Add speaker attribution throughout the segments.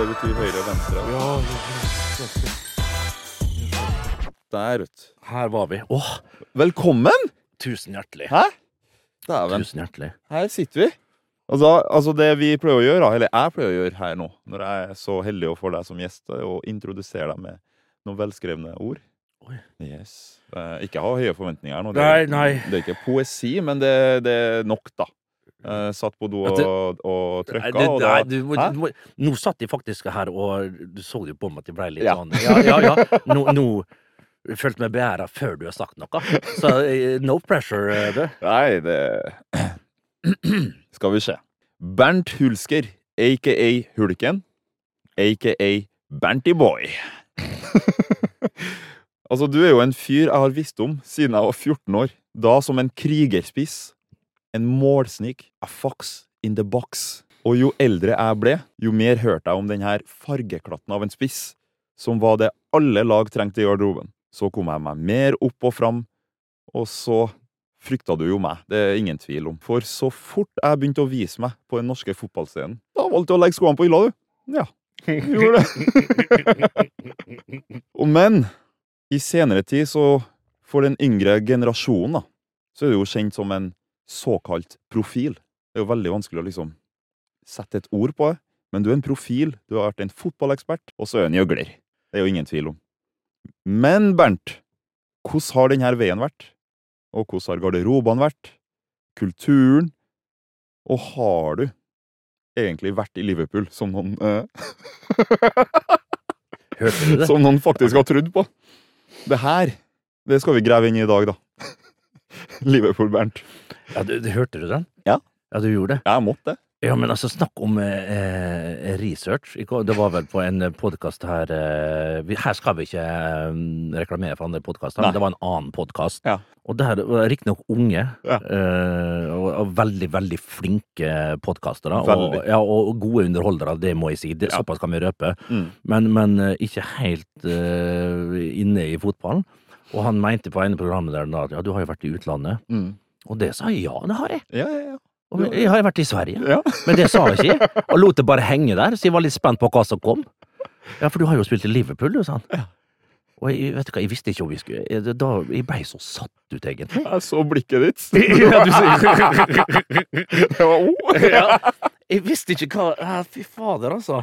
Speaker 1: Det betyr høyre og venstre. Der, vet du.
Speaker 2: Her var vi. Åh,
Speaker 1: Velkommen!
Speaker 2: tusen hjertelig.
Speaker 1: Hæ? Dæven.
Speaker 2: Tusen hjertelig.
Speaker 1: Her sitter vi. Og da, altså det vi pleier å gjøre, da, eller jeg pleier å gjøre her nå, når jeg er så heldig å få deg som gjest, er å introdusere deg med noen velskrevne ord.
Speaker 2: Oi.
Speaker 1: Yes. Eh, ikke ha høye forventninger her nå.
Speaker 2: Nei,
Speaker 1: Det er,
Speaker 2: nei.
Speaker 1: Det er ikke poesi, men det, det er nok, da. Eh, satt på do og,
Speaker 2: At det-
Speaker 1: og
Speaker 2: Nei,
Speaker 1: trøkka,
Speaker 2: det-
Speaker 1: og da
Speaker 2: nei, du må-
Speaker 1: Hæ?
Speaker 2: du må- Nå satt jeg faktisk her, og du så jo på meg at jeg ble litt
Speaker 1: Ja.
Speaker 2: sånn Ja, ja, ja. Nå, nå jeg følte meg beæra før du har sagt noe. Så eh, no pressure, eh, du.
Speaker 1: Nei, det Skal vi se. Bernt Hulsker, aka Hulken, aka Bernty Boy. altså, du er jo en fyr jeg har visst om siden jeg var 14 år. Da som en krigerspiss. En målsnik. A fox in the box. Og jo eldre jeg ble, jo mer hørte jeg om denne fargeklatten av en spiss, som var det alle lag trengte i garderoben. Så kom jeg meg mer opp og fram, og så frykta du jo meg, det er ingen tvil om. For så fort jeg begynte å vise meg på den norske fotballscenen, da valgte du å legge skoene på hylla, du. Ja, du gjorde det. Og men i senere tid, så for den yngre generasjonen, da, så er du jo kjent som en såkalt profil. Det er jo veldig vanskelig å liksom sette et ord på det, men du er en profil, du har vært en fotballekspert, og så er du en gjøgler. Det er jo ingen tvil om. Men, Bernt, hvordan har denne veien vært? og hvordan har garderobene vært, kulturen, og har du egentlig vært i Liverpool, som noen, eh,
Speaker 2: Hørte du det?
Speaker 1: som noen faktisk har trodd på? Det her, det skal vi grave inn i i dag, da. Liverpool, Bernt.
Speaker 2: Ja, du, du hørte du den?
Speaker 1: Ja.
Speaker 2: Ja, du gjorde det?
Speaker 1: Jeg måtte det.
Speaker 2: Ja, men altså, snakk om eh, eh, research. Ikke- Det var vel på en podkast her eh, vi, Her skal vi ikke eh, reklamere for andre podkaster,
Speaker 1: Nei.
Speaker 2: men det var en annen podkast.
Speaker 1: Ja.
Speaker 2: Og der var riktignok unge,
Speaker 1: Ja.
Speaker 2: eh, og, og veldig, veldig flinke podkastere. Og,
Speaker 1: Veldig.
Speaker 2: ja, og gode underholdere, det må jeg si. Det,
Speaker 1: Ja.
Speaker 2: Såpass kan vi røpe.
Speaker 1: Mm.
Speaker 2: Men, men eh, ikke helt eh, inne i fotballen. Og han mente på ene programmet der da at ja, du har jo vært i utlandet.
Speaker 1: Mm.
Speaker 2: Og det sa jeg ja, det har jeg.
Speaker 1: Ja, ja, ja.
Speaker 2: Og jeg har jo vært i Sverige.
Speaker 1: ja.
Speaker 2: Men det sa jeg ikke. Og lot det bare henge der, så jeg var litt spent på hva som kom. Ja, for du har jo spilt i Liverpool, du, sa han. Og jeg, vet du hva, jeg visste ikke om vi skulle jeg- da, Jeg blei så satt ut, egentlig.
Speaker 1: Jeg så blikket ditt.
Speaker 2: Ja, du sier-
Speaker 1: Det var oh.
Speaker 2: ja. Jeg visste ikke hva ja, Fy fader, altså.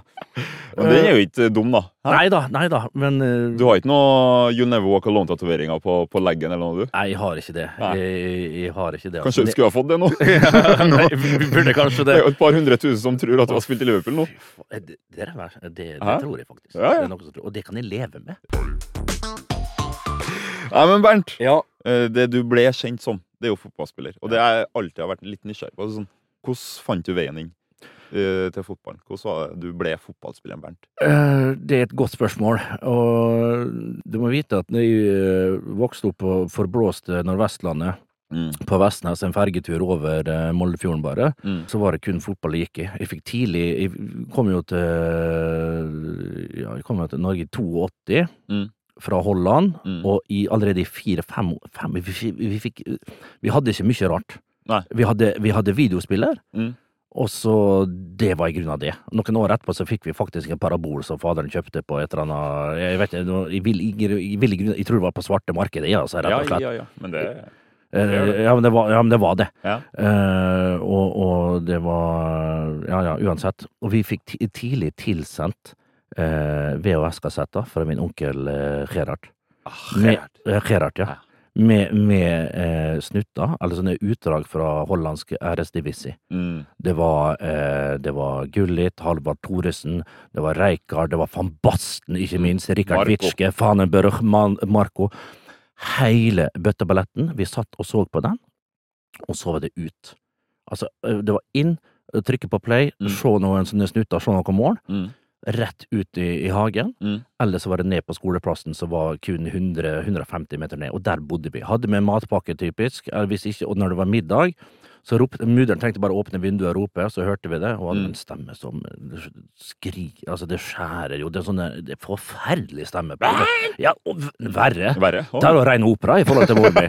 Speaker 1: Men den er jo ikke dum, da. Hæ?
Speaker 2: Nei da, nei da, men eh,
Speaker 1: Du har ikke noe You Never Walk Alone-tatoveringer på, på leggen eller noe, du?
Speaker 2: Nei, jeg har ikke det.
Speaker 1: Nei.
Speaker 2: Jeg, jeg- jeg har ikke det.
Speaker 1: Kanskje du
Speaker 2: altså.
Speaker 1: skulle ha fått det nå?
Speaker 2: Nei, vi burde kanskje
Speaker 1: Det er jo
Speaker 2: det.
Speaker 1: et par hundre tusen som tror at du har spilt i Liverpool nå.
Speaker 2: Fy faen, Det, det, er verst. det, det
Speaker 1: Hæ?
Speaker 2: tror jeg faktisk.
Speaker 1: Ja, ja.
Speaker 2: Det er noe som tror. Og det kan jeg leve med.
Speaker 1: Nei, men Bernt,
Speaker 2: Ja.
Speaker 1: eh, det du ble kjent som, det er jo fotballspiller. Og det jeg alltid har vært litt nysgjerrig på. Altså, sånn, hvordan fant du veien inn eh, til fotballen? Hvordan var det du ble fotballspilleren, Bernt?
Speaker 2: Eh, Det er et godt spørsmål, og du må vite at når jeg eh, vokste opp på forblåste Nordvestlandet, på Vestnes, en fergetur over eh, Moldefjorden bare,
Speaker 1: Mm.
Speaker 2: så var det kun fotball det gikk i. Jeg fikk tidlig Jeg kom jo til Ja, jeg kom jo til Norge i 82.
Speaker 1: Mm.
Speaker 2: Fra Holland,
Speaker 1: Mm.
Speaker 2: og i, allerede i fire-fem fem, vi, fikk- vi fikk Vi hadde ikke mye rart.
Speaker 1: Nei.
Speaker 2: Vi hadde, vi hadde videospiller,
Speaker 1: Mm.
Speaker 2: og så Det var i grunnen av det. Noen år etterpå så fikk vi faktisk en parabol som faderen kjøpte på et eller annet Jeg vet ikke, jeg, vil, jeg, vil, i grunnen- jeg tror det var på svarte markedet, ja, altså, rett og slett.
Speaker 1: ja, ja. Men det
Speaker 2: Eh,
Speaker 1: Det gjør det.
Speaker 2: ja, men det var, ja, men det var det.
Speaker 1: Ja.
Speaker 2: Eh, og, og det var Ja, ja, uansett. Og vi fikk ti- tidlig tilsendt eh, VHS-kassetter fra min onkel eh, Gerhard. Med- eh, Gerhard, ja. Med, med eh, snutter, eller sånne utdrag fra hollandsk RS-divissi.
Speaker 1: Mm.
Speaker 2: Det var, eh, det var Gullit, Halvard Thoresen, det var Reykard, det var van Basten, ikke minst. Rikard
Speaker 1: Marco.
Speaker 2: Witschke, Fanenberg, Man Marco. Hele bøtteballetten. Vi satt og så på den, og så var det ut. Altså, eh, det var inn, trykke på play,
Speaker 1: Mm.
Speaker 2: se noen sånne snutter, se noen mål.
Speaker 1: Mm.
Speaker 2: Rett ut i, i hagen,
Speaker 1: Mm.
Speaker 2: eller så var det ned på skoleplassen, som var kun 100-150 meter ned, og der bodde vi. Hadde med matpakke, typisk, eller hvis ikke, og når det var middag, så ropte Mudder'n tenkte bare å åpne vinduet og rope, så hørte vi det, og hadde
Speaker 1: Mm.
Speaker 2: en stemme som eh, skrik Altså, det skjærer jo, det er sånn der- det er forferdelig stemme. Ja, og v- verre.
Speaker 1: Verre. Å.
Speaker 2: Det er jo rein opera i forhold til mor mi.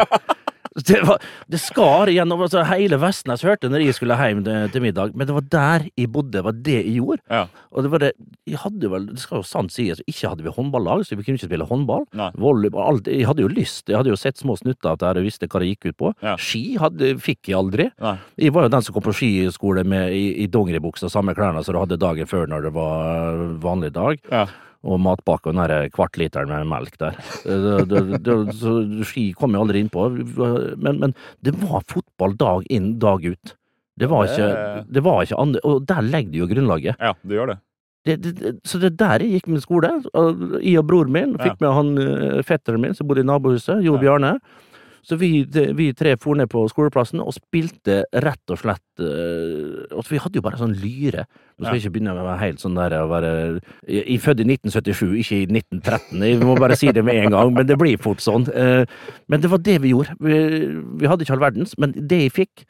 Speaker 2: Det, var, det skar gjennom altså, hele Vestnes, hørte jeg når jeg skulle hjem til til middag. Men det var der jeg bodde, det var det jeg gjorde.
Speaker 1: Ja.
Speaker 2: Og det var det, jeg hadde vel, det skal jo sant sies, ikke hadde vi håndballag, så vi kunne ikke spille håndball.
Speaker 1: Nei.
Speaker 2: Volleyball, alt, jeg hadde jo lyst, jeg hadde jo sett små snutter av det og visste hva det gikk ut på.
Speaker 1: Ja.
Speaker 2: Ski hadde, fikk jeg aldri.
Speaker 1: Nei.
Speaker 2: Jeg var jo den som kom på skiskole med, i, i dongeribuksa, samme klærne som du hadde dagen før når det var vanlig dag.
Speaker 1: Ja.
Speaker 2: Og matpakke og den der kvart literen med melk der. Det, det, det, så ski kom jeg aldri innpå. Men, men det var fotball dag inn, dag ut. Det var ikke, det var ikke andre, Og der legger du jo grunnlaget
Speaker 1: ja, du gjør det.
Speaker 2: det, det, det- så det der jeg gikk min skole. og Jeg og broren min
Speaker 1: Ja.
Speaker 2: fikk med han eh, fetteren min som bodde i nabohuset, Jo
Speaker 1: Ja.
Speaker 2: Bjarne. Så vi, det- vi tre for ned på skoleplassen og spilte rett og slett eh, altså Vi hadde jo bare sånn lyre. Nå skal vi ikke begynne med å være helt sånn der å være Jeg jeg er født i 1977, ikke i 1913. Jeg må bare si det med en gang, men det blir fort sånn. Eh, Men det var det vi gjorde. Vi, vi hadde ikke all verdens, men det jeg fikk,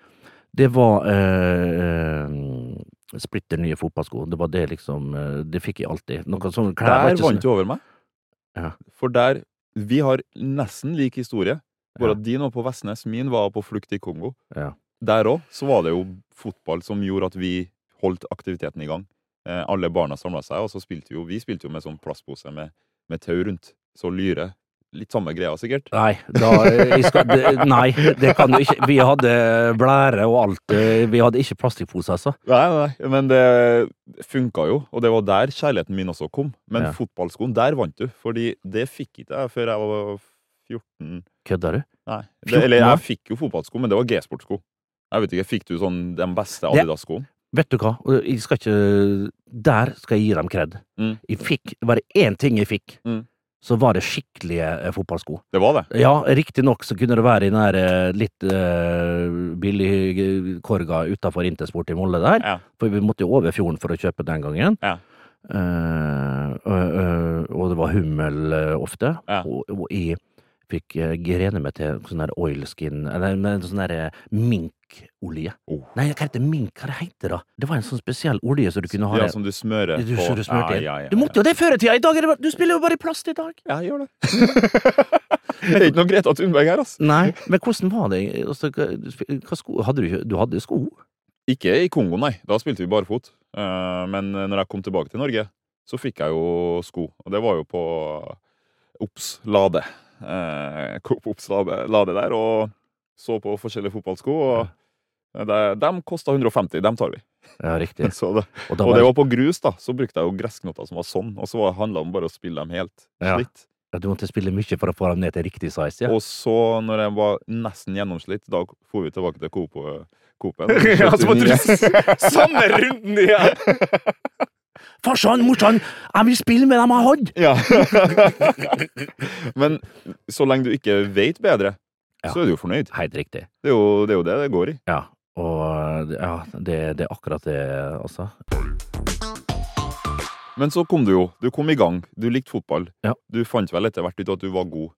Speaker 2: det var eh, eh, splitter nye fotballsko. Det var det liksom eh, Det fikk jeg alltid. Noe sånn klær var
Speaker 1: Der
Speaker 2: ikke
Speaker 1: vant
Speaker 2: sånn-
Speaker 1: du over meg.
Speaker 2: Ja.
Speaker 1: For der Vi har nesten lik historie. Bare
Speaker 2: Ja.
Speaker 1: at din var på Vestnes, min var på flukt i Kongo.
Speaker 2: Ja.
Speaker 1: Der òg så var det jo fotball som gjorde at vi holdt aktiviteten i gang. Eh, alle barna samla seg, og så spilte vi jo Vi spilte jo med sånn plastpose med, med tau rundt. Så lyre. Litt samme greia, sikkert.
Speaker 2: Nei, da, jeg skal, det, nei, det kan du ikke. Vi hadde blære og alt. eh, Vi hadde ikke plastikkpose, altså.
Speaker 1: Nei, nei, men det funka jo, og det var der kjærligheten min også kom. Men
Speaker 2: Ja.
Speaker 1: fotballskoen, der vant du, fordi det fikk ikke jeg før jeg var 14
Speaker 2: Kødder du?
Speaker 1: Nei. Det,
Speaker 2: 14
Speaker 1: eller
Speaker 2: år?
Speaker 1: jeg fikk jo fotballsko, men det var G-sportsko. Jeg vet ikke, Fikk du sånn den beste
Speaker 2: Det-
Speaker 1: Adidas-skoen?
Speaker 2: Vet du hva, jeg skal ikke Der skal jeg gi dem kred.
Speaker 1: Mm.
Speaker 2: Jeg fikk, Var det én ting jeg fikk,
Speaker 1: Mm.
Speaker 2: så var det skikkelige eh, fotballsko.
Speaker 1: Det var det.
Speaker 2: Ja, riktignok så kunne det være i den her eh, litt eh, billig eh, korga utafor Intersport i Molde der.
Speaker 1: Ja.
Speaker 2: For vi måtte jo over fjorden for å kjøpe den gangen.
Speaker 1: Ja.
Speaker 2: Eh, og- og- og det var hummel eh, ofte.
Speaker 1: Ja.
Speaker 2: Og, og jeg fikk eh, grene meg til sånn der oilskin Nei, men sånn der eh, minkolje.
Speaker 1: Oh.
Speaker 2: Nei, hva heter mink? Hva det heter det? Det var en sånn spesiell olje som du kunne ha
Speaker 1: Ja,
Speaker 2: det-
Speaker 1: som du smører
Speaker 2: du,
Speaker 1: på.
Speaker 2: så du smørte
Speaker 1: ja,
Speaker 2: inn.
Speaker 1: ja, ja,
Speaker 2: Du måtte jo det før i tida! I dag er det, bare- du spiller jo bare i plast i dag!
Speaker 1: Ja, jeg gjør det. det er ikke noe Greta Thunberg her, altså.
Speaker 2: Nei, men hvordan var det? Altså, hva, hva sko, hadde du, ikke- du hadde sko?
Speaker 1: Ikke i Kongo, nei. Da spilte vi barfot. Eh, Men når jeg kom tilbake til Norge, så fikk jeg jo sko. Og det var jo på Ops Lade. Eh, Coop Ops Lade Lade der, og så på forskjellige fotballsko. Og det, dem kosta 150. Dem tar vi.
Speaker 2: Ja, riktig.
Speaker 1: Så det,
Speaker 2: Og da
Speaker 1: og
Speaker 2: var,
Speaker 1: det
Speaker 2: det-
Speaker 1: var på grus, da. Så brukte jeg jo gressknotter som var sånn, og så handla det om bare å spille dem helt
Speaker 2: Ja.
Speaker 1: slitt.
Speaker 2: ja, du måtte spille mye for å få dem ned til riktig size, ja.
Speaker 1: Og så, når jeg var nesten gjennomslitt, da dro vi tilbake til Coop. eh, Coopen.
Speaker 2: Ja, så måtte du
Speaker 1: samme runden igjen!
Speaker 2: Farsan, morsan, jeg vil spille med dem jeg hadde!
Speaker 1: Ja. Men så lenge du ikke veit bedre,
Speaker 2: Ja.
Speaker 1: så er du jo fornøyd.
Speaker 2: Helt riktig.
Speaker 1: Det er jo det er jo det, det går i.
Speaker 2: Ja. Og ja, det, det er akkurat det, altså.
Speaker 1: Men så kom du jo. Du kom i gang. Du likte fotball.
Speaker 2: Ja.
Speaker 1: Du fant vel etter hvert ut at du var god.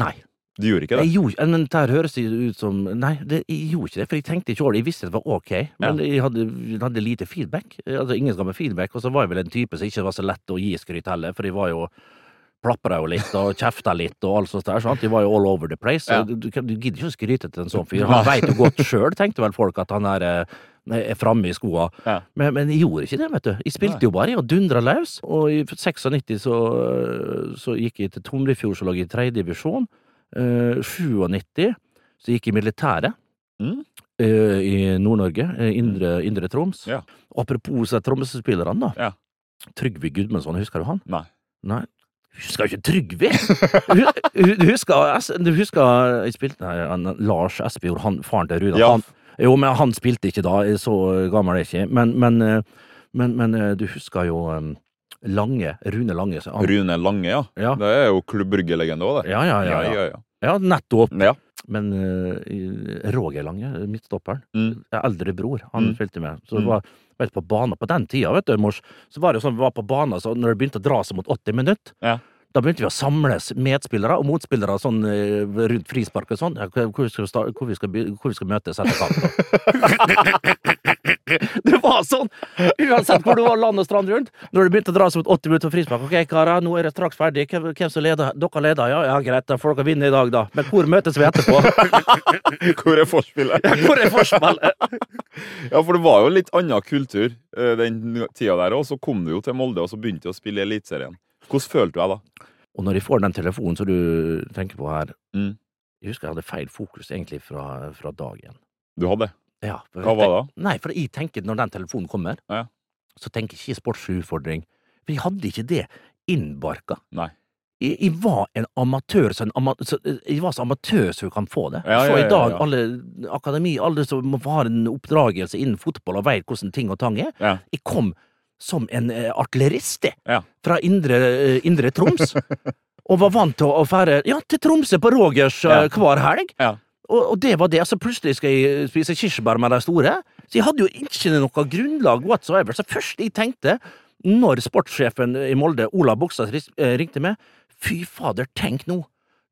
Speaker 2: Nei.
Speaker 1: Du gjorde ikke det?
Speaker 2: Jeg gjorde, men det her høres jo ut som Nei, det, jeg gjorde ikke det, for jeg tenkte ikke over det. Jeg visste det var ok, men jeg hadde, jeg hadde lite feedback. Altså, ingen skal med feedback, og så var jeg vel en type som ikke var så lett å gi skryt heller, for jeg var jo Plapra jo litt og kjefta litt og alt sånt der. sant? De var jo all over the place. så
Speaker 1: Ja.
Speaker 2: Du, du, kan- du gidder ikke å skryte til en sånn fyr. Han veit jo godt sjøl, tenkte vel folk, at han er, eh, er framme i skoa.
Speaker 1: Ja.
Speaker 2: Men, men jeg gjorde ikke det, vet du. Jeg spilte jo bare og dundra løs. Og i 96 så, så gikk jeg til Tomrefjord, som lå i tredje divisjon. Eh, 97 Eh, Så jeg gikk i militæret.
Speaker 1: Mm.
Speaker 2: eh, I Nord-Norge, eh, indre, indre Troms.
Speaker 1: Ja.
Speaker 2: Apropos eh, trommespillerne, da.
Speaker 1: Ja.
Speaker 2: Trygve Gudmundsson, husker du han?
Speaker 1: Nei.
Speaker 2: Nei. Husker jo ikke Trygve! Hu- hu- Du husker, S- du husker jeg spilte, nei, han, Lars Espejord, han, faren til Runar.
Speaker 1: Ja.
Speaker 2: Han, jo, men han spilte ikke da, så gammel er jeg ikke. Men, men, eh, men, men eh, du husker jo eh, Lange, Rune Lange. så Han,
Speaker 1: Rune Lange, ja.
Speaker 2: Ja.
Speaker 1: Det er jo Klubb Brygge-legende òg, det.
Speaker 2: Ja, ja, ja, ja.
Speaker 1: ja, ja.
Speaker 2: ja, nettopp.
Speaker 1: ja.
Speaker 2: Men eh, Roger Lange, midtstopperen,
Speaker 1: Mm.
Speaker 2: eh, eldre bror, han
Speaker 1: Mm.
Speaker 2: spilte med. Så
Speaker 1: Mm.
Speaker 2: det var, vet, du, på banen, på den tida, vet du, mors, så var det jo sånn vi var på banen, så når det begynte å dra seg mot 80 minutter,
Speaker 1: Ja.
Speaker 2: da begynte vi å samles medspillere og motspillere sånn eh, rundt frispark og sånn. Ja, hvor, hvor, vi skal, sta- hvor, vi skal, by- hvor vi skal møtes etter kamp, da. det var sånn! Uansett hvor du var land og strand rundt. Når det begynte å dra seg mot 80 minutter frispark Ok, karer, nå er det straks ferdig. Hvem, hvem som leder? Dere leder, ja? Ja, greit, da får dere vinne i dag, da. Men hvor møtes vi etterpå?
Speaker 1: Hvor er forspillet?
Speaker 2: hvor er forspillet?
Speaker 1: Ja, for det var jo litt annen kultur eh, den tida der òg. Så kom du jo til Molde, og så begynte du å spille i Eliteserien. Hvordan følte du deg da?
Speaker 2: Og når jeg får den telefonen som du tenker på her
Speaker 1: Mm.
Speaker 2: Jeg husker jeg hadde feil fokus egentlig fra, fra dagen.
Speaker 1: Du hadde det?
Speaker 2: Ja, for-
Speaker 1: Hva var det?
Speaker 2: Nei, for jeg tenker når den telefonen kommer,
Speaker 1: Ja.
Speaker 2: så tenker jeg ikke sportslig utfordring. For jeg hadde ikke det innbarka.
Speaker 1: Nei.
Speaker 2: Jeg, jeg var en amatør, så en ama, så, eh, jeg var så amatør som du kan få det.
Speaker 1: Ja, ja,
Speaker 2: så
Speaker 1: ja,
Speaker 2: i dag,
Speaker 1: ja.
Speaker 2: alle akademi, alle som har en oppdragelse innen fotball og veit hvordan ting og tang er,
Speaker 1: Ja.
Speaker 2: jeg kom som en eh, artillerist, jeg.
Speaker 1: Ja.
Speaker 2: Fra indre, eh, indre Troms. og var vant til å fære ja, til Tromsø på Rogers
Speaker 1: Ja.
Speaker 2: eh, hver helg.
Speaker 1: Ja.
Speaker 2: Og, og det var det. Så plutselig skal jeg eh, spise kirsebær med de store. Så jeg hadde jo ikke noe grunnlag whatsoever. Så først jeg tenkte, når sportssjefen i Molde, Ola Bogstad, ris- eh, ringte meg Fy fader, tenk nå!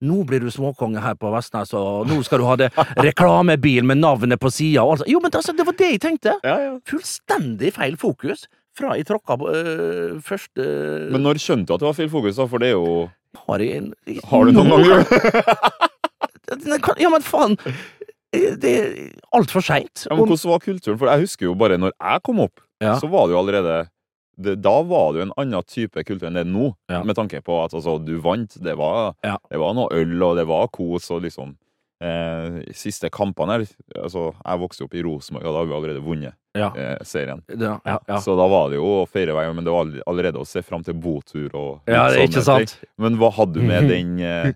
Speaker 2: Nå blir du småkonge her på Vestnes, og nå skal du ha det reklamebil med navnet på sida og alt sånt. Jo, men altså, det var det jeg tenkte!
Speaker 1: Ja, ja.
Speaker 2: Fullstendig feil fokus fra jeg tråkka på øh, først øh,
Speaker 1: Men når skjønte du at det var feil fokus, da? For det er jo
Speaker 2: Har jeg en
Speaker 1: Har du noen gang gjort det?
Speaker 2: Den kan- Ja, men faen! eh, Det er altfor seint.
Speaker 1: Ja, men hvordan var kulturen? For jeg husker jo bare når jeg kom opp,
Speaker 2: Ja.
Speaker 1: så var det jo allerede det, Da var det jo en annen type kultur enn det er nå,
Speaker 2: Ja.
Speaker 1: med tanke på at altså, du vant. Det var,
Speaker 2: Ja.
Speaker 1: det var noe øl, og det var kos, og liksom eh, Siste kampene her altså, Jeg vokste opp i Rosenborg, og da hadde vi allerede vunnet
Speaker 2: Ja.
Speaker 1: eh, serien.
Speaker 2: Ja, ja, ja.
Speaker 1: Så da var det jo å feire vei, men det var all- allerede å se fram til botur og litt
Speaker 2: ja det er
Speaker 1: sånne
Speaker 2: ikke
Speaker 1: ting.
Speaker 2: sant.
Speaker 1: Men hva hadde du med den eh,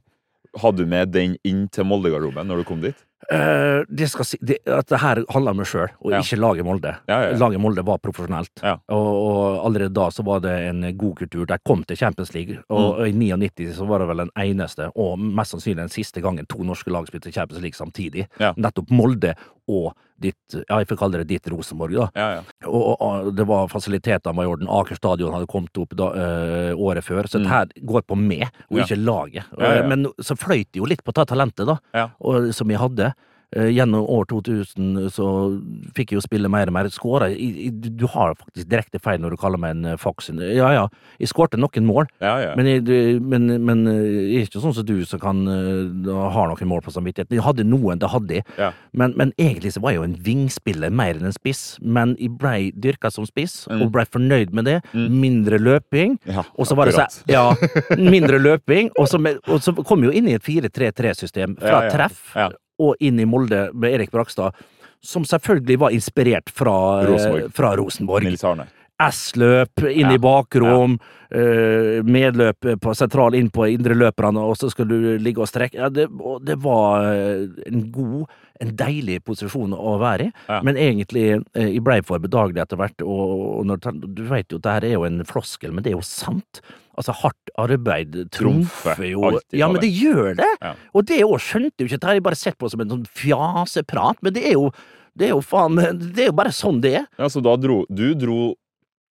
Speaker 1: Hadde du med den inn til Molde-garderoben når du kom dit?
Speaker 2: Eh, det skal si, det, at det her handler om meg sjøl, og
Speaker 1: Ja.
Speaker 2: ikke laget Molde.
Speaker 1: Ja, ja, ja.
Speaker 2: Laget Molde var profesjonelt,
Speaker 1: Ja.
Speaker 2: og, og allerede da så var det en god kultur. De kom til Champions League, og,
Speaker 1: Mm.
Speaker 2: og i 99 så var det vel den eneste, og mest sannsynlig den siste gangen, to norske lag spilte Champions League samtidig.
Speaker 1: Ja.
Speaker 2: Nettopp Molde og ditt, ja, jeg får kalle det ditt Rosenborg, da.
Speaker 1: Ja, ja.
Speaker 2: Og, og, og det var fasilitetene var i orden. Aker stadion hadde kommet opp da, eh, året før, så dette her går på meg, og
Speaker 1: Mm. Ja.
Speaker 2: ikke laget.
Speaker 1: Ja, ja.
Speaker 2: Men så fløyt det jo litt på det talentet, da
Speaker 1: Ja.
Speaker 2: og, som jeg hadde. Eh, Gjennom år 2000 så fikk jeg jo spille mer og mer. Skåra i- i- Du du har faktisk direkte feil når du kaller meg en eh, fox. Ja ja, jeg skårte noen mål,
Speaker 1: ja, ja.
Speaker 2: men jeg, du- men, men eh, jeg er ikke sånn som du som kan eh, da har noen mål på samvittigheten. Jeg hadde noen, det hadde jeg.
Speaker 1: Ja.
Speaker 2: Men, men egentlig så var jeg jo en vingspiller mer enn en spiss. Men jeg blei dyrka som spiss, og blei fornøyd med det. Mindre løping.
Speaker 1: Mm. Ja,
Speaker 2: og så var det så,
Speaker 1: akkurat.
Speaker 2: ja, mindre løping. Og så, med- og så kom jeg jo inn i et 4-3-3-system
Speaker 1: Ja,
Speaker 2: fra
Speaker 1: ja.
Speaker 2: treff
Speaker 1: Ja.
Speaker 2: og inn i Molde med Erik Brakstad. Som selvfølgelig var inspirert fra eh,
Speaker 1: Rosenborg.
Speaker 2: Fra Rosenborg.
Speaker 1: Nils Arne.
Speaker 2: S-løp inn
Speaker 1: Ja.
Speaker 2: i bakrom, eh, medløp på sentral inn på indreløperne, og så skal du ligge og strekke ja, det, og det var eh, en god, en deilig posisjon å være i,
Speaker 1: Ja.
Speaker 2: men egentlig eh, jeg blei for bedagelig etter hvert. Og, og når, du vet jo, det her er jo en floskel, men det er jo sant. Altså, hardt arbeid
Speaker 1: Trumfer
Speaker 2: trumfer jo
Speaker 1: alltid,
Speaker 2: Ja, men
Speaker 1: Kalle.
Speaker 2: det gjør det!
Speaker 1: Ja.
Speaker 2: Og det òg skjønte jo ikke, det har jeg bare sett på som en sånn fjaseprat, men det er jo det er jo faen Det er jo bare sånn det er.
Speaker 1: Ja, så da dro, du dro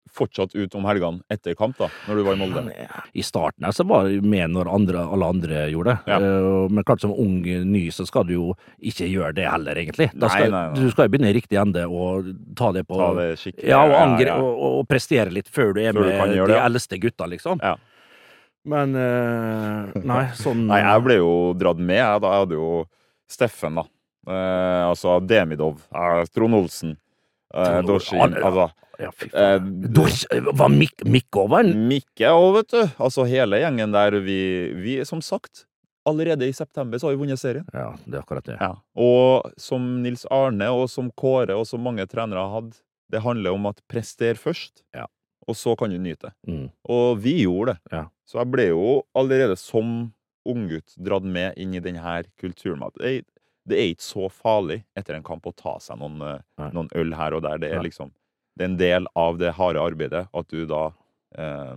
Speaker 1: fortsatt ut om helgene etter kamp, da, når du var i Molde?
Speaker 2: I starten her så var jeg med når andre, alle andre gjorde det.
Speaker 1: Ja.
Speaker 2: Eh, Men klart som ung eh, ny så skal du jo ikke gjøre det heller, egentlig. Da
Speaker 1: Nei,
Speaker 2: skal,
Speaker 1: nei, nei.
Speaker 2: Du skal jo begynne i riktig ende og ta det på
Speaker 1: Ta det skikkelig.
Speaker 2: Ja, og,
Speaker 1: Ja,
Speaker 2: angre,
Speaker 1: ja.
Speaker 2: Og, og- og prestere litt før du er
Speaker 1: Før du kan
Speaker 2: med
Speaker 1: gjøre
Speaker 2: de
Speaker 1: det, ja.
Speaker 2: eldste gutta, liksom.
Speaker 1: Ja.
Speaker 2: Men eh, Nei, sånn
Speaker 1: Nei, jeg ble jo dratt med, jeg. Da jeg hadde jo Steffen, da. Eh, altså Demidov. Eh, Trond Olsen. Eh,
Speaker 2: Trond Ol-
Speaker 1: Dorsin.
Speaker 2: Han-
Speaker 1: Altså
Speaker 2: ja, fy
Speaker 1: eh, Mm.
Speaker 2: faen. Dors, var Mikk, Mikk over den?
Speaker 1: Mikke òg, vet du. Altså hele gjengen der. Vi, vi som sagt, Allerede i september så har vi vunnet serien.
Speaker 2: Ja, det er akkurat det.
Speaker 1: Og som Nils Arne, og som Kåre, og som mange trenere hadde, det handler om at prester først,
Speaker 2: Ja.
Speaker 1: og så kan du nyte.
Speaker 2: Mm.
Speaker 1: Og vi gjorde det.
Speaker 2: Ja.
Speaker 1: Så jeg ble jo allerede som unggutt dratt med inn i denne kulturen. med at Det, det er ikke så farlig etter en kamp å ta seg noen, eh,
Speaker 2: Nei.
Speaker 1: noen øl her og der. Det er
Speaker 2: Nei.
Speaker 1: liksom det er en del av det harde arbeidet at du da eh,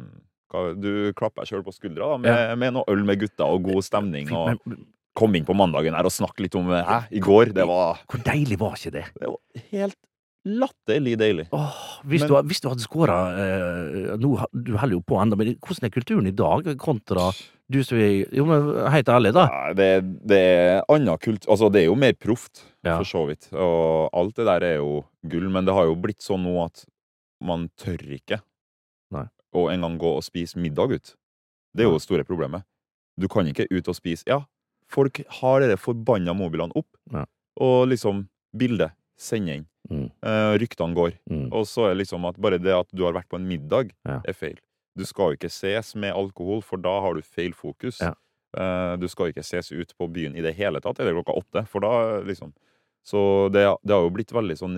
Speaker 1: hva- du klapper deg sjøl på skuldra da, med, med noe øl med gutta og god stemning.
Speaker 2: Fy,
Speaker 1: Og,
Speaker 2: men, men
Speaker 1: kom inn på mandagen her og snakke litt om Hæ, i går? Det var,
Speaker 2: hvor deilig var ikke det?
Speaker 1: det var helt latterlig deilig.
Speaker 2: Åh, hvis,
Speaker 1: Men-
Speaker 2: du, hvis du hadde skåra eh, nå ha- Du holder jo på ennå, men hvordan er kulturen i dag kontra du som er Jo, men helt ærlig, da.
Speaker 1: Nei, det, det er annen kult Altså, det er jo mer proft,
Speaker 2: Ja.
Speaker 1: for så vidt. Og alt det der er jo gull, men det har jo blitt sånn nå at man tør ikke
Speaker 2: Nei.
Speaker 1: å engang gå og spise middag ut. Det er jo det store problemet. Du kan ikke ut og spise Ja, folk har de forbanna mobilene opp,
Speaker 2: Ja.
Speaker 1: og liksom Bildet. Send inn.
Speaker 2: Mm,
Speaker 1: Eh, ryktene går.
Speaker 2: mm.
Speaker 1: Og så er det liksom at bare det at du har vært på en middag,
Speaker 2: Ja.
Speaker 1: er feil. Du skal jo ikke ses med alkohol, for da har du feil fokus.
Speaker 2: Ja.
Speaker 1: Eh, Du skal ikke ses ut på byen i det hele tatt, eller klokka åtte, for da liksom Så det, det har jo blitt veldig sånn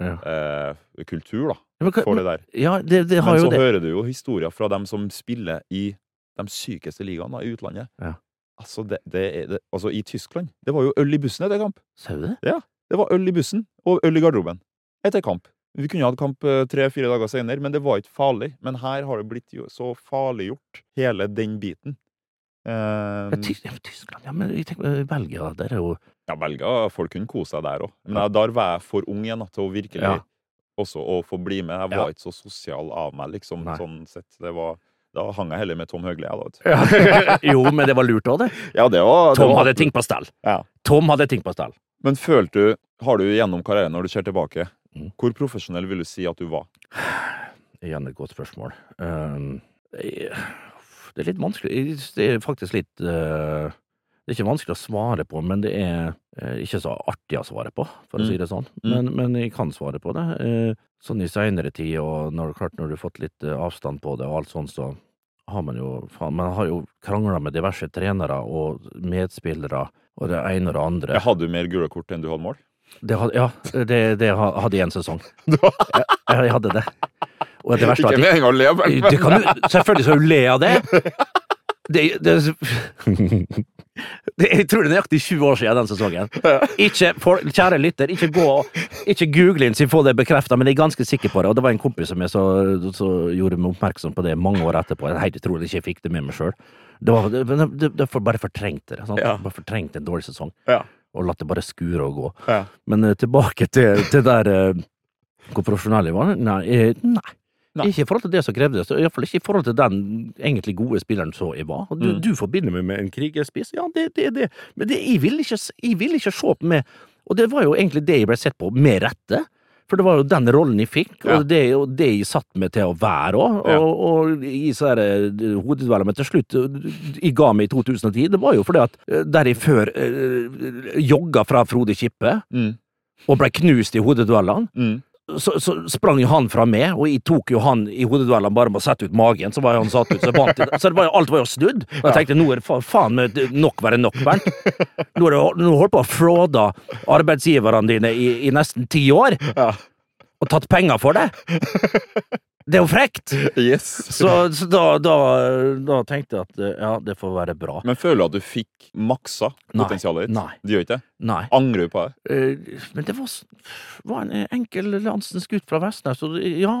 Speaker 1: redselskultur,
Speaker 2: Ja.
Speaker 1: eh, kultur, da,
Speaker 2: Ja, men hva-
Speaker 1: for det der.
Speaker 2: Ja, det, det har
Speaker 1: Men så
Speaker 2: jo det.
Speaker 1: hører du jo historier fra dem som spiller i de sykeste ligaene da, i utlandet.
Speaker 2: Ja.
Speaker 1: Altså, det, det er det Altså, i Tyskland Det var jo øl i bussen etter kamp.
Speaker 2: Sa du det?
Speaker 1: Det var øl i bussen og øl i garderoben. Etter kamp. Vi kunne hatt kamp tre-fire dager senere, men det var ikke farlig. Men her har det blitt jo så farliggjort, hele den biten.
Speaker 2: Ja,
Speaker 1: Um,
Speaker 2: Ty ja, men Tyskland, ja, men jeg tenker, eh, Belgia, der er jo
Speaker 1: ja, Belgia, folk kunne kose seg der òg. Men jeg, der var jeg for ung igjen da, til å virkelig
Speaker 2: Ja.
Speaker 1: også å få bli med. Jeg
Speaker 2: Ja.
Speaker 1: var ikke så sosial av meg, liksom.
Speaker 2: Nei.
Speaker 1: sånn sett. Det var, da hang jeg heller med Tom Høgli, jeg, da. vet du.
Speaker 2: Jo, men det var lurt òg, det.
Speaker 1: Ja, det var, det
Speaker 2: Tom
Speaker 1: var-
Speaker 2: hadde ting på stell.
Speaker 1: Ja.
Speaker 2: Tom hadde ting på stell.
Speaker 1: Men følte du, har du gjennom karrieren, når du ser tilbake,
Speaker 2: Mm.
Speaker 1: hvor profesjonell vil du si at du var?
Speaker 2: Igjen et godt spørsmål. Ehm, jeg- det er litt vanskelig Det er faktisk litt eh, Det er ikke vanskelig å svare på, men det er eh, ikke så artig å svare på, for å
Speaker 1: Mm.
Speaker 2: si det sånn. Men, men jeg kan svare på det. Eh, Sånn i seinere tid, og når, klart når du har fått litt eh, avstand på det og alt sånn, så har man jo faen, Man har jo krangla med diverse trenere og medspillere og det ene og det andre.
Speaker 1: Jeg hadde jo mer gule kort enn du hadde mål.
Speaker 2: Det had, ja, det, det ha- hadde jeg en sesong. Ja, jeg hadde det. Og det verste var at
Speaker 1: meninga å le,
Speaker 2: jeg, det kan du, Selvfølgelig skal du le av det. Det, det, det Jeg tror det er nøyaktig 20 år siden den sesongen. Ikke, for, kjære lytter, ikke gå Ikke google inn så få det bekrefta, men jeg er ganske sikker på det. Og det var en kompis som jeg så, så gjorde meg oppmerksom på det mange år etterpå. Jeg er helt utrolig ikke jeg fikk det med meg sjøl. Det var, det, det, det, det bare fortrengte det. Sant?
Speaker 1: Ja.
Speaker 2: Bare fortrengte en dårlig sesong.
Speaker 1: Ja.
Speaker 2: Og latt det bare skure og gå.
Speaker 1: Ja.
Speaker 2: Men eh, tilbake til, til der eh, hvor profesjonell jeg var. Nei, eh, nei.
Speaker 1: Nei.
Speaker 2: Ikke i forhold til det som krevdes, og iallfall ikke i forhold til den egentlig gode spilleren som jeg var. Og Du,
Speaker 1: Mm.
Speaker 2: du forbinder meg med en krigerspiss, ja, det er det, det. Men det, jeg, vil ikke, s- jeg vil ikke se på meg Og det var jo egentlig det jeg ble sett på, med rette. For det var jo den rollen jeg fikk, og
Speaker 1: Ja.
Speaker 2: det er jo det jeg satt meg til å være òg.
Speaker 1: Ja.
Speaker 2: Og, og i så her, eh, hodedueller, men til slutt eh, Jeg ga meg i 2010. Det var jo fordi at eh, der jeg før eh, jogga fra Frode Kippe,
Speaker 1: Mm,
Speaker 2: og ble knust i hodeduellene,
Speaker 1: mm.
Speaker 2: så, så sprang jo han fra meg, og jeg tok jo han i hodeduellene bare med å sette ut magen. Så var jo han satt ut, så jeg vant. i det. Så det var jo, alt var jo snudd. Og jeg tenkte nå er det fa faen meg nok være nok, Bernt. Nå, er det, nå holder du på å fråde arbeidsgiverne dine i, i nesten ti år,
Speaker 1: Ja.
Speaker 2: og tatt penger for det. Det er jo frekt!
Speaker 1: Yes.
Speaker 2: Så, så da, da, da tenkte jeg at ja, det får være bra.
Speaker 1: Men føler du at du fikk maksa
Speaker 2: Nei,
Speaker 1: potensialet ditt?
Speaker 2: nei.
Speaker 1: Du gjør ikke det?
Speaker 2: Nei.
Speaker 1: Angrer du på det?
Speaker 2: Eh, Men det var, s- var en eh, enkel landsens gutt fra Vestnes, og det- ja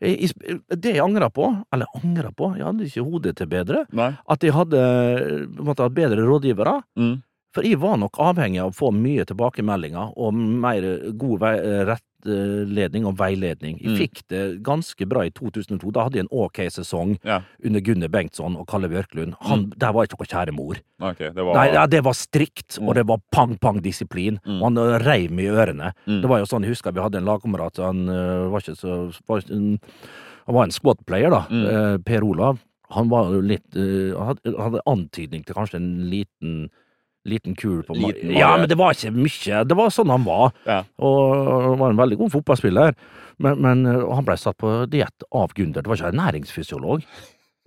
Speaker 2: jeg- jeg sp- eh, Det jeg angra på, eller angra på, jeg hadde ikke hodet til bedre,
Speaker 1: Nei.
Speaker 2: at jeg hadde eh, måtte ha bedre rådgivere.
Speaker 1: Mm.
Speaker 2: For jeg var nok avhengig av å få mye tilbakemeldinger og mer eh, god vei, eh, rettledning og veiledning. Jeg
Speaker 1: Mm.
Speaker 2: fikk det ganske bra i 2002. Da hadde jeg en ok sesong
Speaker 1: Ja. Mm.
Speaker 2: under Gunnar Bengtsson og Kalle Bjørklund. Han, Der var ikke noe kjære mor.
Speaker 1: Ok, det var
Speaker 2: Nei, ja, det var strikt, og det var pang-pang-disiplin.
Speaker 1: Mm.
Speaker 2: Og han eh, reiv meg i ørene.
Speaker 1: Mm.
Speaker 2: Det var jo sånn, Jeg husker vi hadde en lagkamerat Han eh, var ikke så var, ikke en- Han var en squad-player, da.
Speaker 1: Mm.
Speaker 2: eh, per Olav. Han var jo litt eh, Han hadde, han hadde antydning til kanskje en liten Liten kul på ma-
Speaker 1: Liten
Speaker 2: Ja,
Speaker 1: Mario.
Speaker 2: men det var ikke mye. Det var sånn han var.
Speaker 1: Ja.
Speaker 2: Og han var en veldig god fotballspiller. Men, men eh, han ble satt på diett av Gunder. Det var ikke en næringsfysiolog.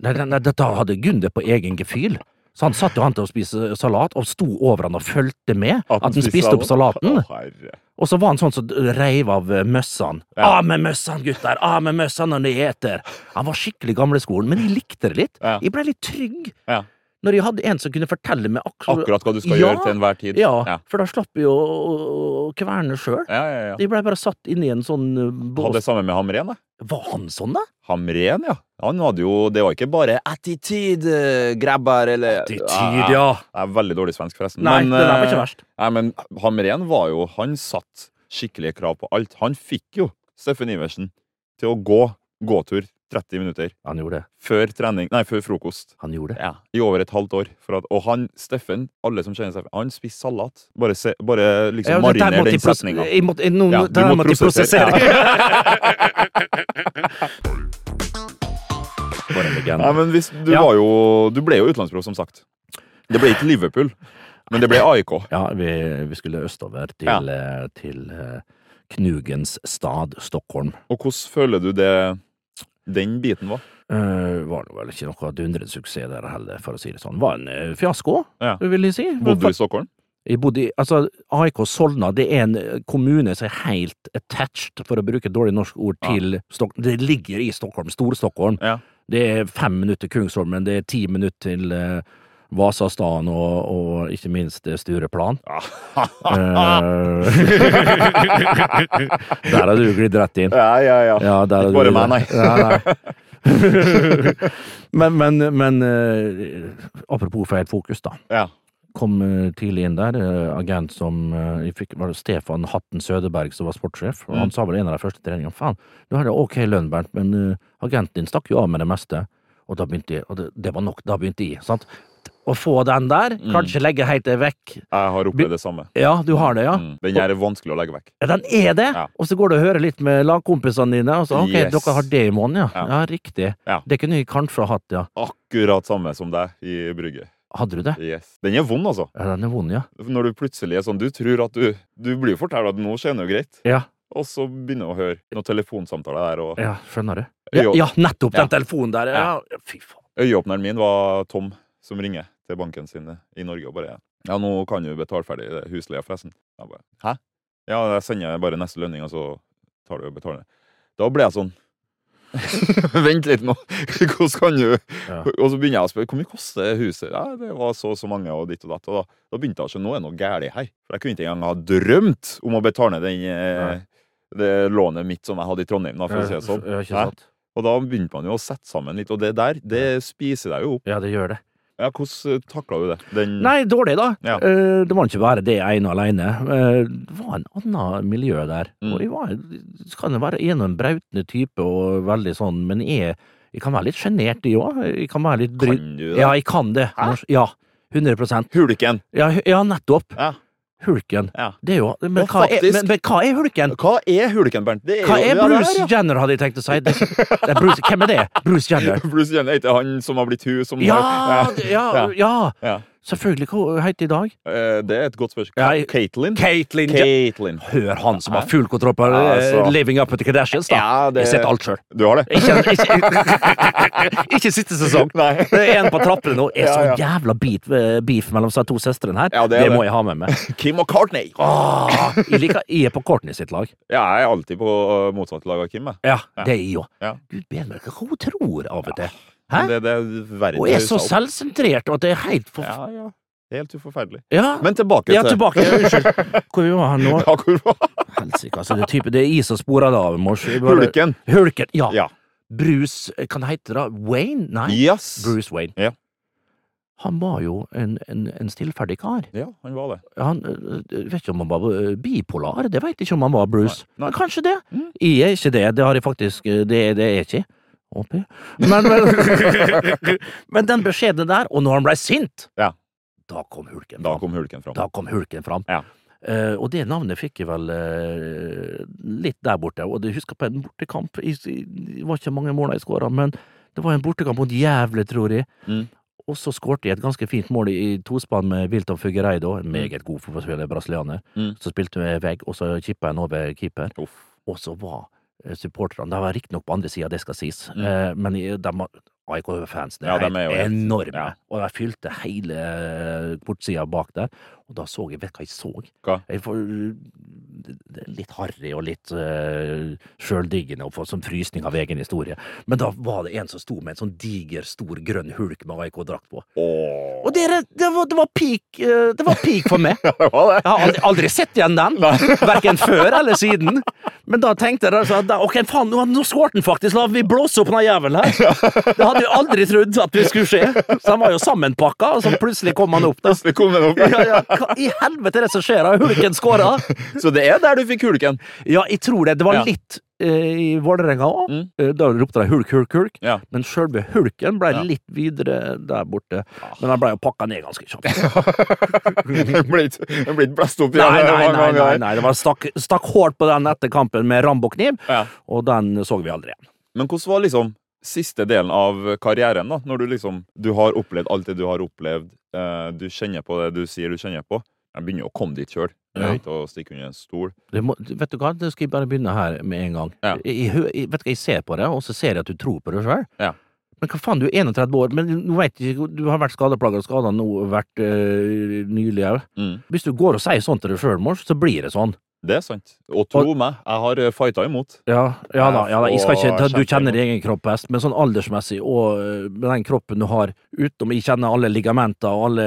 Speaker 2: Nei, nei, nei, dette hadde Gunder på egen gefühl. Så han satt jo han til å spise salat, og sto over han og fulgte med at han spiste opp
Speaker 1: salat.
Speaker 2: salaten.
Speaker 1: Å, herre.
Speaker 2: Og så var han sånn som reiv av eh, møssene.
Speaker 1: Ja.
Speaker 2: Av med møssene, gutter! Av med møssene når dere eter! Han var skikkelig gamleskolen, men jeg likte det litt.
Speaker 1: Ja.
Speaker 2: Jeg ble litt trygg
Speaker 1: Ja.
Speaker 2: når jeg hadde en som kunne fortelle meg akkur
Speaker 1: Akkurat hva du skal
Speaker 2: Ja.
Speaker 1: gjøre til enhver tid.
Speaker 2: Ja,
Speaker 1: Ja,
Speaker 2: for da slapp jeg å å- å kverne sjøl.
Speaker 1: ja, ja. ja.
Speaker 2: Jeg blei bare satt inni en sånn eh,
Speaker 1: Hadde det
Speaker 2: bås.
Speaker 1: samme med Hamren, da.
Speaker 2: Var han sånn, da?
Speaker 1: Hamren, ja. Han hadde jo Det var ikke bare 'attityd, grabber', eller Jeg er veldig dårlig i svensk, forresten.
Speaker 2: Nei, det der var
Speaker 1: eh,
Speaker 2: ikke verst.
Speaker 1: Nei, men Hamren var jo Han satt skikkelige krav på alt. Han fikk jo Steffen Iversen til å gå gåtur 30 minutter
Speaker 2: Han gjorde det.
Speaker 1: før trening Nei, før frokost.
Speaker 2: Han gjorde det.
Speaker 1: Ja, I over et halvt år. For at, og han Steffen, alle som kjenner Steffen, han spiser salat. Bare, se, bare liksom
Speaker 2: Ja, det der
Speaker 1: mariner
Speaker 2: måtte
Speaker 1: den
Speaker 2: jeg pros-
Speaker 1: setninga.
Speaker 2: jeg måtte- nå-
Speaker 1: Ja,
Speaker 2: nå-
Speaker 1: du
Speaker 2: det der
Speaker 1: må
Speaker 2: måtte jeg
Speaker 1: prosessere.
Speaker 2: prosessere.
Speaker 1: Bare en legende. Nei, men hvis, du,
Speaker 2: Ja.
Speaker 1: var jo, du ble jo utenlandsprov, som sagt. Det ble ikke Liverpool, men det ble AIK.
Speaker 2: Ja, vi, vi skulle østover til,
Speaker 1: Ja.
Speaker 2: eh, til eh, Knugens stad, Stockholm.
Speaker 1: Og hvordan føler du det den biten var?
Speaker 2: Uh, var det vel ikke noe dundrende suksess der heller, for å si det sånn. Var en eh, fiasko,
Speaker 1: Ja.
Speaker 2: vil jeg si.
Speaker 1: Bodde du i Stockholm?
Speaker 2: Jeg bodde i Altså, AIK Solna det er en eh, kommune som er helt attached, for å bruke et dårlig norsk ord,
Speaker 1: Ja.
Speaker 2: til Stockholm. Det ligger i Stockholm, Stor-Stockholm.
Speaker 1: Ja.
Speaker 2: Det er fem minutter til Kungsholmen, det er ti minutter til eh, Vasastaden og, og ikke minst eh, Stureplan.
Speaker 1: Ah,
Speaker 2: Eh, der har du glidd rett inn.
Speaker 1: Ja, ja,
Speaker 2: Ja, der
Speaker 1: Ikke
Speaker 2: har du
Speaker 1: bare meg,
Speaker 2: glidd- nei. nei. men, men, men eh, apropos feil fokus, da.
Speaker 1: Ja.
Speaker 2: Kom eh, tidlig inn der, eh, agent som eh, jeg fikk, var det Stefan Hatten Sødeberg som var sportssjef, og
Speaker 1: Mm.
Speaker 2: han sa vel i en av de første treningene faen, du har det ok lønn, Bernt, men eh, agenten din stakk jo av med det meste. Og da begynte jeg, og det, det var nok, da begynte jeg, sant. Å få den der,
Speaker 1: Mm.
Speaker 2: kanskje legge helt det vekk.
Speaker 1: Jeg har opplevd det samme.
Speaker 2: Ja, du har det, ja.
Speaker 1: Mm. Den her er vanskelig å legge vekk.
Speaker 2: Ja, den er det!
Speaker 1: Ja.
Speaker 2: Og så går du og hører litt med lagkompisene dine, og så ok,
Speaker 1: Yes.
Speaker 2: dere har det i måneden, ja.
Speaker 1: Ja.
Speaker 2: ja. riktig.
Speaker 1: Ja.
Speaker 2: Det kunne jeg kanskje ha hatt, ja.
Speaker 1: Akkurat samme som deg i brygge.
Speaker 2: Hadde du det?
Speaker 1: Yes. Den er vond, altså.
Speaker 2: Ja, den er vond, ja.
Speaker 1: Når du plutselig er sånn Du tror at du Du blir jo fortalt at nå skjer det jo greit,
Speaker 2: Ja,
Speaker 1: og så begynner du å høre noen telefonsamtaler der, og
Speaker 2: ja skjønner du. Ja,
Speaker 1: Jo.
Speaker 2: ja nettopp
Speaker 1: Ja.
Speaker 2: den telefonen der! Ja, fy faen.
Speaker 1: Øyeåpneren min var Tom, som ringer til banken sin i Norge og bare Ja, nå kan du betale ferdig det husleia, forresten. Jeg bare Hæ? Ja, jeg sender bare neste lønning, og så tar du og betaler. Da ble jeg sånn Vent litt nå. Hvordan kan du
Speaker 2: Ja.
Speaker 1: Og så begynner jeg å spørre hvor mye koster huset? Ja, det var så og så mange, og ditt og datt. Og da, da begynte jeg å skjønne nå er det noe galt her. For jeg kunne ikke engang ha drømt om å betale ned den, eh,
Speaker 2: Nei.
Speaker 1: det lånet mitt som jeg hadde i Trondheim, da, for å si det sånn.
Speaker 2: Ja, ikke
Speaker 1: Hæ?
Speaker 2: sant?
Speaker 1: Og da begynte man jo å sette sammen litt, og det der, det spiser deg jo opp.
Speaker 2: Ja, det gjør det.
Speaker 1: Ja, hvordan takla du det? Den
Speaker 2: Nei, dårlig, da.
Speaker 1: Ja.
Speaker 2: Eh, det var ikke bare det ene og alene. Eh, det var en annen miljø der.
Speaker 1: Mm.
Speaker 2: Og jeg var, så kan jeg være en og en brautende type og veldig sånn, men jeg, jeg kan være litt sjenert, jeg òg. Jeg kan være litt bry...
Speaker 1: Kan du det?
Speaker 2: Ja, jeg kan det.
Speaker 1: Hæ?
Speaker 2: Norsk- Ja, 100
Speaker 1: Hulken!
Speaker 2: Ja, hu- ja nettopp.
Speaker 1: Ja.
Speaker 2: Hulken.
Speaker 1: Ja.
Speaker 2: Det er jo Men,
Speaker 1: Ja,
Speaker 2: hva er,
Speaker 1: faktisk.
Speaker 2: men, men hva er hulken?
Speaker 1: Hva er hulken, Bernt? Det
Speaker 2: Hva
Speaker 1: jo-
Speaker 2: er
Speaker 1: Ja, det
Speaker 2: Bruce
Speaker 1: der, ja.
Speaker 2: Jenner, hadde jeg tenkt å si. Det, det er Bruce, hvem er det? Bruce Jenner.
Speaker 1: Bruce Jenner er ikke han som har blitt hun som
Speaker 2: Ja,
Speaker 1: har
Speaker 2: det- ja,
Speaker 1: ja.
Speaker 2: ja.
Speaker 1: Ja.
Speaker 2: Selvfølgelig. Hva heter det i dag?
Speaker 1: Eh, Det er et godt spørsmål.
Speaker 2: Ja, jeg-
Speaker 1: Katelyn?
Speaker 2: Caitlyn Jenner.
Speaker 1: Caitlyn.
Speaker 2: Hør han som har full kontroll på
Speaker 1: Ja,
Speaker 2: eh,
Speaker 1: altså.
Speaker 2: Living Up with the Kardashians, da.
Speaker 1: Ja, det-
Speaker 2: Jeg har sett alt sjøl.
Speaker 1: Du har det?
Speaker 2: Ikke, ikke, ikke siste sesong.
Speaker 1: Nei.
Speaker 2: Det er en på trappene nå. Er
Speaker 1: Ja,
Speaker 2: så
Speaker 1: ja.
Speaker 2: jævla beat, beef mellom seg to søstrene her.
Speaker 1: Ja, det
Speaker 2: det,
Speaker 1: er det.
Speaker 2: må jeg ha med meg.
Speaker 1: Kim og Courtney!
Speaker 2: Åh, jeg, liker, jeg er på Courtney sitt lag.
Speaker 1: Ja, jeg er alltid på eh, motsatt lag av Kim. Jeg.
Speaker 2: Ja, det er jeg òg.
Speaker 1: Ja.
Speaker 2: Gud bedre hva hun tror av og til. Hæ?
Speaker 1: Men Det, det er verre
Speaker 2: Hun er så selvsentrert og det er helt for...
Speaker 1: Ja, ja. Helt uforferdelig.
Speaker 2: Ja,
Speaker 1: Men tilbake
Speaker 2: ja
Speaker 1: til
Speaker 2: tilbake. Unnskyld. Hvor var han nå?
Speaker 1: Ja, hvor var
Speaker 2: Helsike, altså. Det er, type, det er jeg som sporer det av. Mors. Jeg bare-
Speaker 1: hulken?
Speaker 2: Hulken. Ja.
Speaker 1: Ja.
Speaker 2: Bruce eh, Kan det hete da? Wayne? Nei.
Speaker 1: Yes.
Speaker 2: Bruce Wayne.
Speaker 1: Ja.
Speaker 2: Han var jo en, en, en stillferdig kar.
Speaker 1: Ja, han var det.
Speaker 2: Han øh, øh, vet ikke om han var øh, bipolar, det vet jeg ikke om han var,
Speaker 1: Nei,
Speaker 2: Bruce.
Speaker 1: Mm. nei.
Speaker 2: Men kanskje det. Jeg er ikke det, det har jeg faktisk øh, Det, det er jeg ikke. Håper jeg. Men, men, men den beskjeden der, og når han blei sint,
Speaker 1: Ja.
Speaker 2: da kom hulken
Speaker 1: Da
Speaker 2: fram.
Speaker 1: kom hulken fram.
Speaker 2: Da kom hulken fram.
Speaker 1: Ja.
Speaker 2: Eh, og det navnet fikk jeg vel eh, litt der borte. Og jeg husker på en bortekamp i- i- Det var ikke mange mål jeg skåra, men det var en bortekamp mot Jævle, tror jeg.
Speaker 1: Mm.
Speaker 2: Og så skårte jeg et ganske fint mål i i tospann med Wilton Fuggereido, en meget god fotballspiller, brasilianer.
Speaker 1: Mm.
Speaker 2: Så spilte vi vegg, og så kippa jeg den over keeper.
Speaker 1: Uff.
Speaker 2: Og så var eh, supporterne De var riktignok på andre sida, det skal sies, eh, men i- de var AIK-fans det
Speaker 1: Mm. Ja,
Speaker 2: er
Speaker 1: de
Speaker 2: helt
Speaker 1: er jo helt-
Speaker 2: enorme.
Speaker 1: ja.
Speaker 2: Og jeg fylte hele kortsida bak der, og da så jeg Vet du hva jeg så?
Speaker 1: Hva?
Speaker 2: Jeg får det- det er litt harry og litt uh, sjøldiggende og får sånn frysning av egen historie. Men da var det en som sto med en sånn diger, stor grønn hulk med AIK-drakt på.
Speaker 1: Åh.
Speaker 2: Og dere, det var, det var peak eh, Det var peak for meg.
Speaker 1: Det var det.
Speaker 2: Jeg har aldri, aldri sett igjen den, verken før eller siden. Men da tenkte jeg altså, at da, ok, faen, nå, nå skåret den faktisk, la vi blåse opp den jævelen her. Det hadde vi aldri trodd at det skulle skje. Så han var jo sammenpakka, og så plutselig kom han opp. Da.
Speaker 1: Plutselig kom den opp.
Speaker 2: Ja, ja, hva i helvete er det som skjer? Har Hulken skåra?
Speaker 1: Så det er der du fikk hulken.
Speaker 2: Ja, jeg tror det. Det var
Speaker 1: Ja.
Speaker 2: litt eh, i Vålerenga òg.
Speaker 1: Mm.
Speaker 2: Da ropte de hulk, hulk, hulk.
Speaker 1: Ja.
Speaker 2: Men sjølve hulken ble
Speaker 1: Ja. Ah.
Speaker 2: litt videre der borte. Men han ble jo pakka ned ganske kjapt.
Speaker 1: Den ble ikke den ble ikke blåst opp igjen.
Speaker 2: Nei, nei,
Speaker 1: mange
Speaker 2: nei, nei,
Speaker 1: ganger.
Speaker 2: nei. det var stakk, stakk hårdt på den etter kampen med Rambo-kniv,
Speaker 1: Ja.
Speaker 2: og den så vi aldri igjen.
Speaker 1: Men hvordan var liksom siste delen av karrieren, da? Når du liksom Du har opplevd alt det du har opplevd. eh, Du kjenner på det du sier du kjenner på. Jeg begynner å komme dit sjøl.
Speaker 2: Ja.
Speaker 1: Ikke å stikke under en stol.
Speaker 2: Det må, vet du hva, det skal jeg bare begynne her med en gang.
Speaker 1: Ja.
Speaker 2: Jeg, jeg, hø- jeg, vet du hva, jeg ser på det, og så ser jeg at du tror på det sjøl.
Speaker 1: Ja.
Speaker 2: Men hva faen, du er 31 år, men nå vet jeg ikke, du har vært skadeplaga og skada nå vært øh, nylig òg.
Speaker 1: Mm.
Speaker 2: Hvis du går og sier sånn til deg sjøl, Mors, så blir det sånn.
Speaker 1: Det er sant. Og tro meg, jeg har eh, fighta imot.
Speaker 2: Ja, ja da, ja da. Jeg skal ikke,
Speaker 1: Og
Speaker 2: du kjenner
Speaker 1: kjempegodt.
Speaker 2: din egen kropp best, men sånn aldersmessig og øh, med den kroppen du har, utenom jeg kjenner alle ligamenter og alle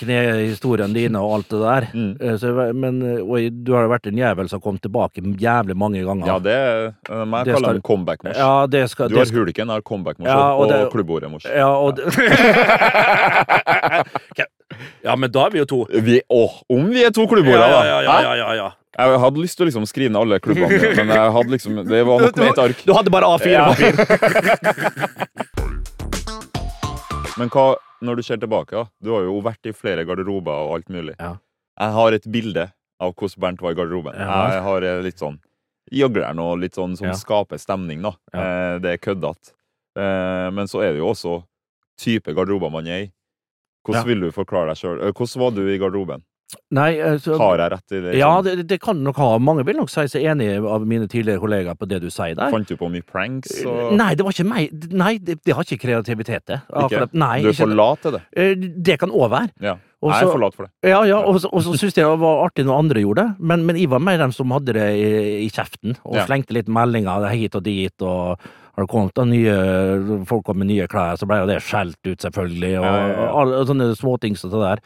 Speaker 2: knehistoriene dine og alt det der
Speaker 1: Mm.
Speaker 2: Eh, så, jeg ve- Men øh, og jeg- du har jo vært en jævel som har kommet tilbake jævlig mange ganger.
Speaker 1: Ja, det eh, er meg
Speaker 2: Det
Speaker 1: kaller
Speaker 2: skal-
Speaker 1: det comeback-mors.
Speaker 2: Ja, det skal,
Speaker 1: Du har
Speaker 2: det skal
Speaker 1: hulken, jeg har comeback-mors
Speaker 2: Ja,
Speaker 1: og,
Speaker 2: og det-
Speaker 1: klubbordet-mors.
Speaker 2: ja, og det- ja, men da er vi jo to.
Speaker 1: Vi, åh, om vi er to klubbord,
Speaker 2: Ja,
Speaker 1: da!
Speaker 2: ja, ja, ja,
Speaker 1: Hæ?
Speaker 2: ja, ja, ja.
Speaker 1: Jeg hadde lyst til å liksom skrive ned alle klubbene, men jeg hadde liksom, det var
Speaker 2: Du,
Speaker 1: nok med et ark.
Speaker 2: du hadde bare A4.
Speaker 1: Ja.
Speaker 2: papir.
Speaker 1: Men hva, når du ser tilbake, da, du har jo vært i flere garderober og alt mulig.
Speaker 2: Ja.
Speaker 1: Jeg har et bilde av hvordan Bernt var i garderoben.
Speaker 2: Ja.
Speaker 1: Jeg har eh, litt sånn jøgleren og litt sånn som
Speaker 2: Ja.
Speaker 1: skaper stemning, da.
Speaker 2: Ja.
Speaker 1: Eh, Det er køddete. Eh, Men så er det jo også type garderober man er i. Hvordan
Speaker 2: Ja.
Speaker 1: vil du forklare deg sjøl? Hvordan var du i garderoben?
Speaker 2: Nei, eh, så-
Speaker 1: Har jeg rett i det?
Speaker 2: Ja,
Speaker 1: Sånn,
Speaker 2: det, det kan du nok ha. Mange vil nok si seg enig av mine tidligere kollegaer på det du sier der.
Speaker 1: Fant du på mye pranks? Og...
Speaker 2: Nei, det var ikke meg. Nei, det, det har ikke kreativitet, det.
Speaker 1: Ikke?
Speaker 2: Akkurat, nei,
Speaker 1: du er
Speaker 2: ikke-
Speaker 1: for lat til det.
Speaker 2: Eh, Det kan òg være.
Speaker 1: Ja.
Speaker 2: Og
Speaker 1: jeg
Speaker 2: så-
Speaker 1: er for lat for det.
Speaker 2: Ja, ja, og så- og så syntes jeg det var artig når andre gjorde det, men, men jeg var mer dem som hadde det i, i kjeften, og
Speaker 1: Ja.
Speaker 2: slengte litt meldinger hit og dit, og har det kommet da nye folk kom med nye klær, så ble jo det skjelt ut, selvfølgelig, og,
Speaker 1: Ja, ja, ja.
Speaker 2: og alle sånne småting som det der.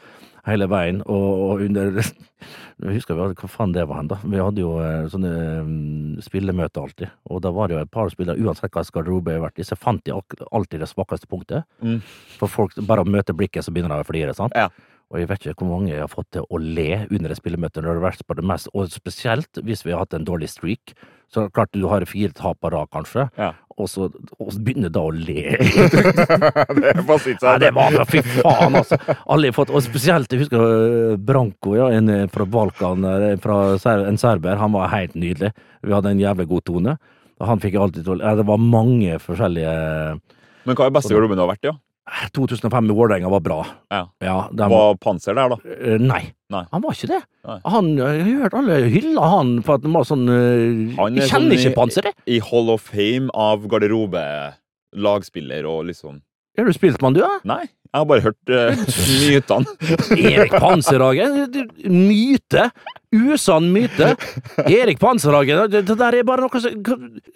Speaker 2: Hele veien, og, og under Jeg husker vi hadde, hva faen det var hen, da. Vi hadde jo eh, sånne mm, spillemøter alltid, og da var det jo et par spillere, uansett hva garderobe jeg har vært i, så fant de ak- alltid det svakeste punktet.
Speaker 1: Mm.
Speaker 2: For folk, bare å møte blikket, så begynner de å flire, sant?
Speaker 1: Ja.
Speaker 2: Og jeg vet ikke hvor mange jeg har fått til å le under et spillemøte når det har vært på det mest, og spesielt hvis vi har hatt en dårlig streak. Så er det klart du har fire tap på rad, kanskje,
Speaker 1: Ja.
Speaker 2: og så og så begynner da å le.
Speaker 1: det er bare å sitte
Speaker 2: Nei,
Speaker 1: seg
Speaker 2: det var Fy faen, altså! Alle har fått, og spesielt jeg husker øh, Branko, ja, en øh, fra Balkan, øh, en fra ser, en serber. Han var helt nydelig. Vi hadde en jævlig god tone. Og Han fikk jeg alltid til å ja, Det var mange forskjellige øh,
Speaker 1: Men hva er beste garderoben du har vært i? da?
Speaker 2: 2005 i Vålerenga var bra.
Speaker 1: Ja.
Speaker 2: Ja, den
Speaker 1: Var panser der, da?
Speaker 2: Eh, nei.
Speaker 1: Nei.
Speaker 2: Han var ikke det.
Speaker 1: Nei.
Speaker 2: Han, øh, jeg har hørt alle hylla han for at han var sånn eh,
Speaker 1: Han er
Speaker 2: Jeg kjenner
Speaker 1: sånn i-
Speaker 2: ikke panseret!
Speaker 1: I Hall of Fame av garderobe, lagspiller og liksom
Speaker 2: Har du spilt med han, du, da?
Speaker 1: Nei, jeg har bare hørt uh, mytene.
Speaker 2: Erik Panserhagen? du- Myte! Usann myte! Erik Panserhagen, det, det der er bare noe som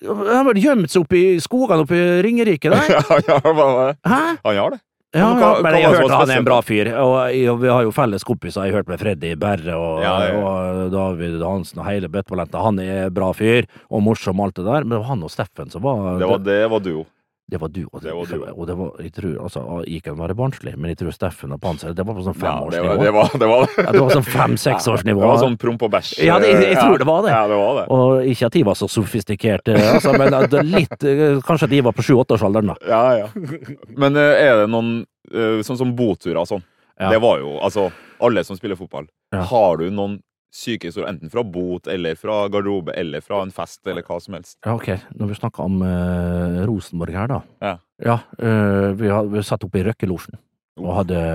Speaker 2: Han har vel gjemt seg oppe i skogene oppe i Ringerike, der?
Speaker 1: ja, ja, hva-
Speaker 2: Hæ?
Speaker 1: han gjør det.
Speaker 2: Ja,
Speaker 1: Men hva-
Speaker 2: ja,
Speaker 1: hva
Speaker 2: men
Speaker 1: var det
Speaker 2: jeg har
Speaker 1: som var
Speaker 2: hørt han er
Speaker 1: spesielt?
Speaker 2: en bra fyr, og, og vi har jo felles kompiser. Jeg har hørt med Freddy Berre og,
Speaker 1: Ja, ja, ja.
Speaker 2: og David Hansen og hele bøtteballettet. Han er en bra fyr og morsom og alt det der, men det var han og Steffen som var
Speaker 1: Det var, det var duo.
Speaker 2: det var du. Og
Speaker 1: Det var du.
Speaker 2: og det var, jeg tror, altså, jeg kan være barnslig, men jeg tror Steffen og Panser Det var på sånn
Speaker 1: Ja, det
Speaker 2: femårsnivå.
Speaker 1: var det. Var, det, var, det.
Speaker 2: Ja, det var sånn fem-seksårsnivå.
Speaker 1: det var sånn promp og bæsj.
Speaker 2: Ja, det- jeg- jeg
Speaker 1: Ja.
Speaker 2: tror det var det.
Speaker 1: Ja, det var det.
Speaker 2: Og ikke at de var så sofistikerte, altså, men at det litt, eh, kanskje at de var på sju-åtteårsalderen, da.
Speaker 1: Ja, ja. Men eh, er det noen eh, Sånn som boturer og sånn.
Speaker 2: Ja.
Speaker 1: Det var jo Altså, alle som spiller fotball.
Speaker 2: Ja.
Speaker 1: Har du noen syke historier, enten fra bot eller fra garderobe eller fra en fest eller hva som helst?
Speaker 2: Ja, ok. Når vi snakker om eh, Rosenborg her, da.
Speaker 1: Ja.
Speaker 2: Oh. eh, vi, har, vi satt oppe i Røkkelosjen og hadde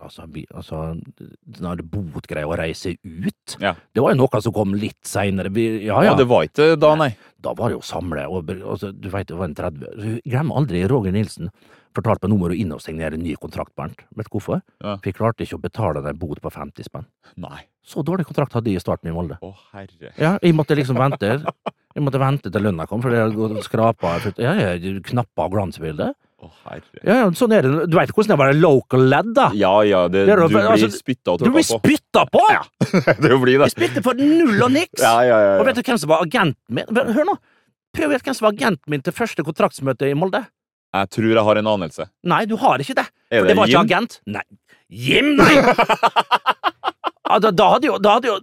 Speaker 2: Altså, vi- altså den her botgreia å reise ut,
Speaker 1: Ja.
Speaker 2: det var jo noe som kom litt seinere. Ah, Ja, ja.
Speaker 1: Ja, det var ikke da, nei.
Speaker 2: Da var det jo samle, og be- altså, du veit det var en 30 Jeg Glemmer aldri Roger Nilsen. Fortalte meg nå må du inn og signere en ny kontrakt, Bernt. Vet du hvorfor?
Speaker 1: Ja.
Speaker 2: For jeg klarte ikke å betale den bot på 50 spenn.
Speaker 1: Nei.
Speaker 2: Så dårlig kontrakt hadde jeg i starten i Molde.
Speaker 1: Å, herre.
Speaker 2: Ja, jeg måtte liksom vente. Jeg måtte vente til lønna kom, for jeg hadde gått og skrapa ja, ja, knapper og glansbilder.
Speaker 1: Å, herre.
Speaker 2: Ja, ja, sånn er det. Du veit hvordan det er å være local lad, da.
Speaker 1: Ja, ja, det,
Speaker 2: Det er da-
Speaker 1: du blir
Speaker 2: altså,
Speaker 1: spytta og
Speaker 2: Du blir
Speaker 1: tråkka på.
Speaker 2: spytta på! Ja.
Speaker 1: det blir det.
Speaker 2: Jeg spilte for null og niks!
Speaker 1: Ja, ja, ja.
Speaker 2: Og
Speaker 1: ja.
Speaker 2: vet du hvem som var agenten min? Hør- Hør nå! Prøv å gjette hvem som var agenten min til første kontraktsmøte i Molde.
Speaker 1: Jeg tror jeg har en anelse.
Speaker 2: Nei, du har ikke det.
Speaker 1: Er
Speaker 2: For
Speaker 1: det
Speaker 2: det var ikke
Speaker 1: Jim?
Speaker 2: agent. Nei. Jim, nei! Ja, Da, da hadde jo Da hadde jo,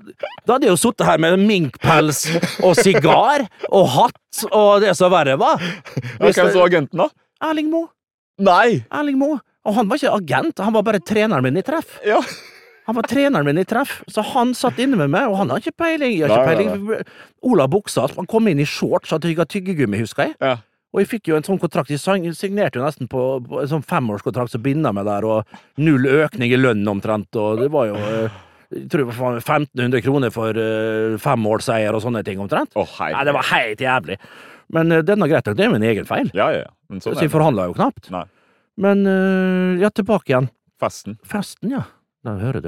Speaker 2: da hadde jeg jo sittet her med minkpels og sigar og hatt og det som verre var.
Speaker 1: Ja, hvem så agenten, da?
Speaker 2: Erling Moe.
Speaker 1: Nei!
Speaker 2: Erling Moe. Og han var ikke agent, han var bare treneren min i treff.
Speaker 1: Ja.
Speaker 2: Han var treneren min i treff, så han satt inne med meg, og han har ikke peiling. Jeg har
Speaker 1: Nei,
Speaker 2: ikke peiling. Ola Buksa, han kom inn i shorts og tygga tyggegummi, husker jeg.
Speaker 1: Ja.
Speaker 2: Og jeg fikk jo en sånn kontrakt, jeg sign- signerte jo nesten på, på en sånn femårskontrakt som binda meg der, og null økning i lønnen omtrent, og det var jo eh, jeg tror det var faen 1500 kroner for eh, femårsseier og sånne ting omtrent.
Speaker 1: Å, herre.
Speaker 2: Nei, det var helt jævlig. Men eh, den var greit nok, det er min egen feil.
Speaker 1: Ja, ja, ja. Men sånn
Speaker 2: Så jeg
Speaker 1: er det.
Speaker 2: forhandla jo knapt.
Speaker 1: Nei.
Speaker 2: Men eh, ja, tilbake igjen.
Speaker 1: Festen.
Speaker 2: Festen, ja. Den hører du.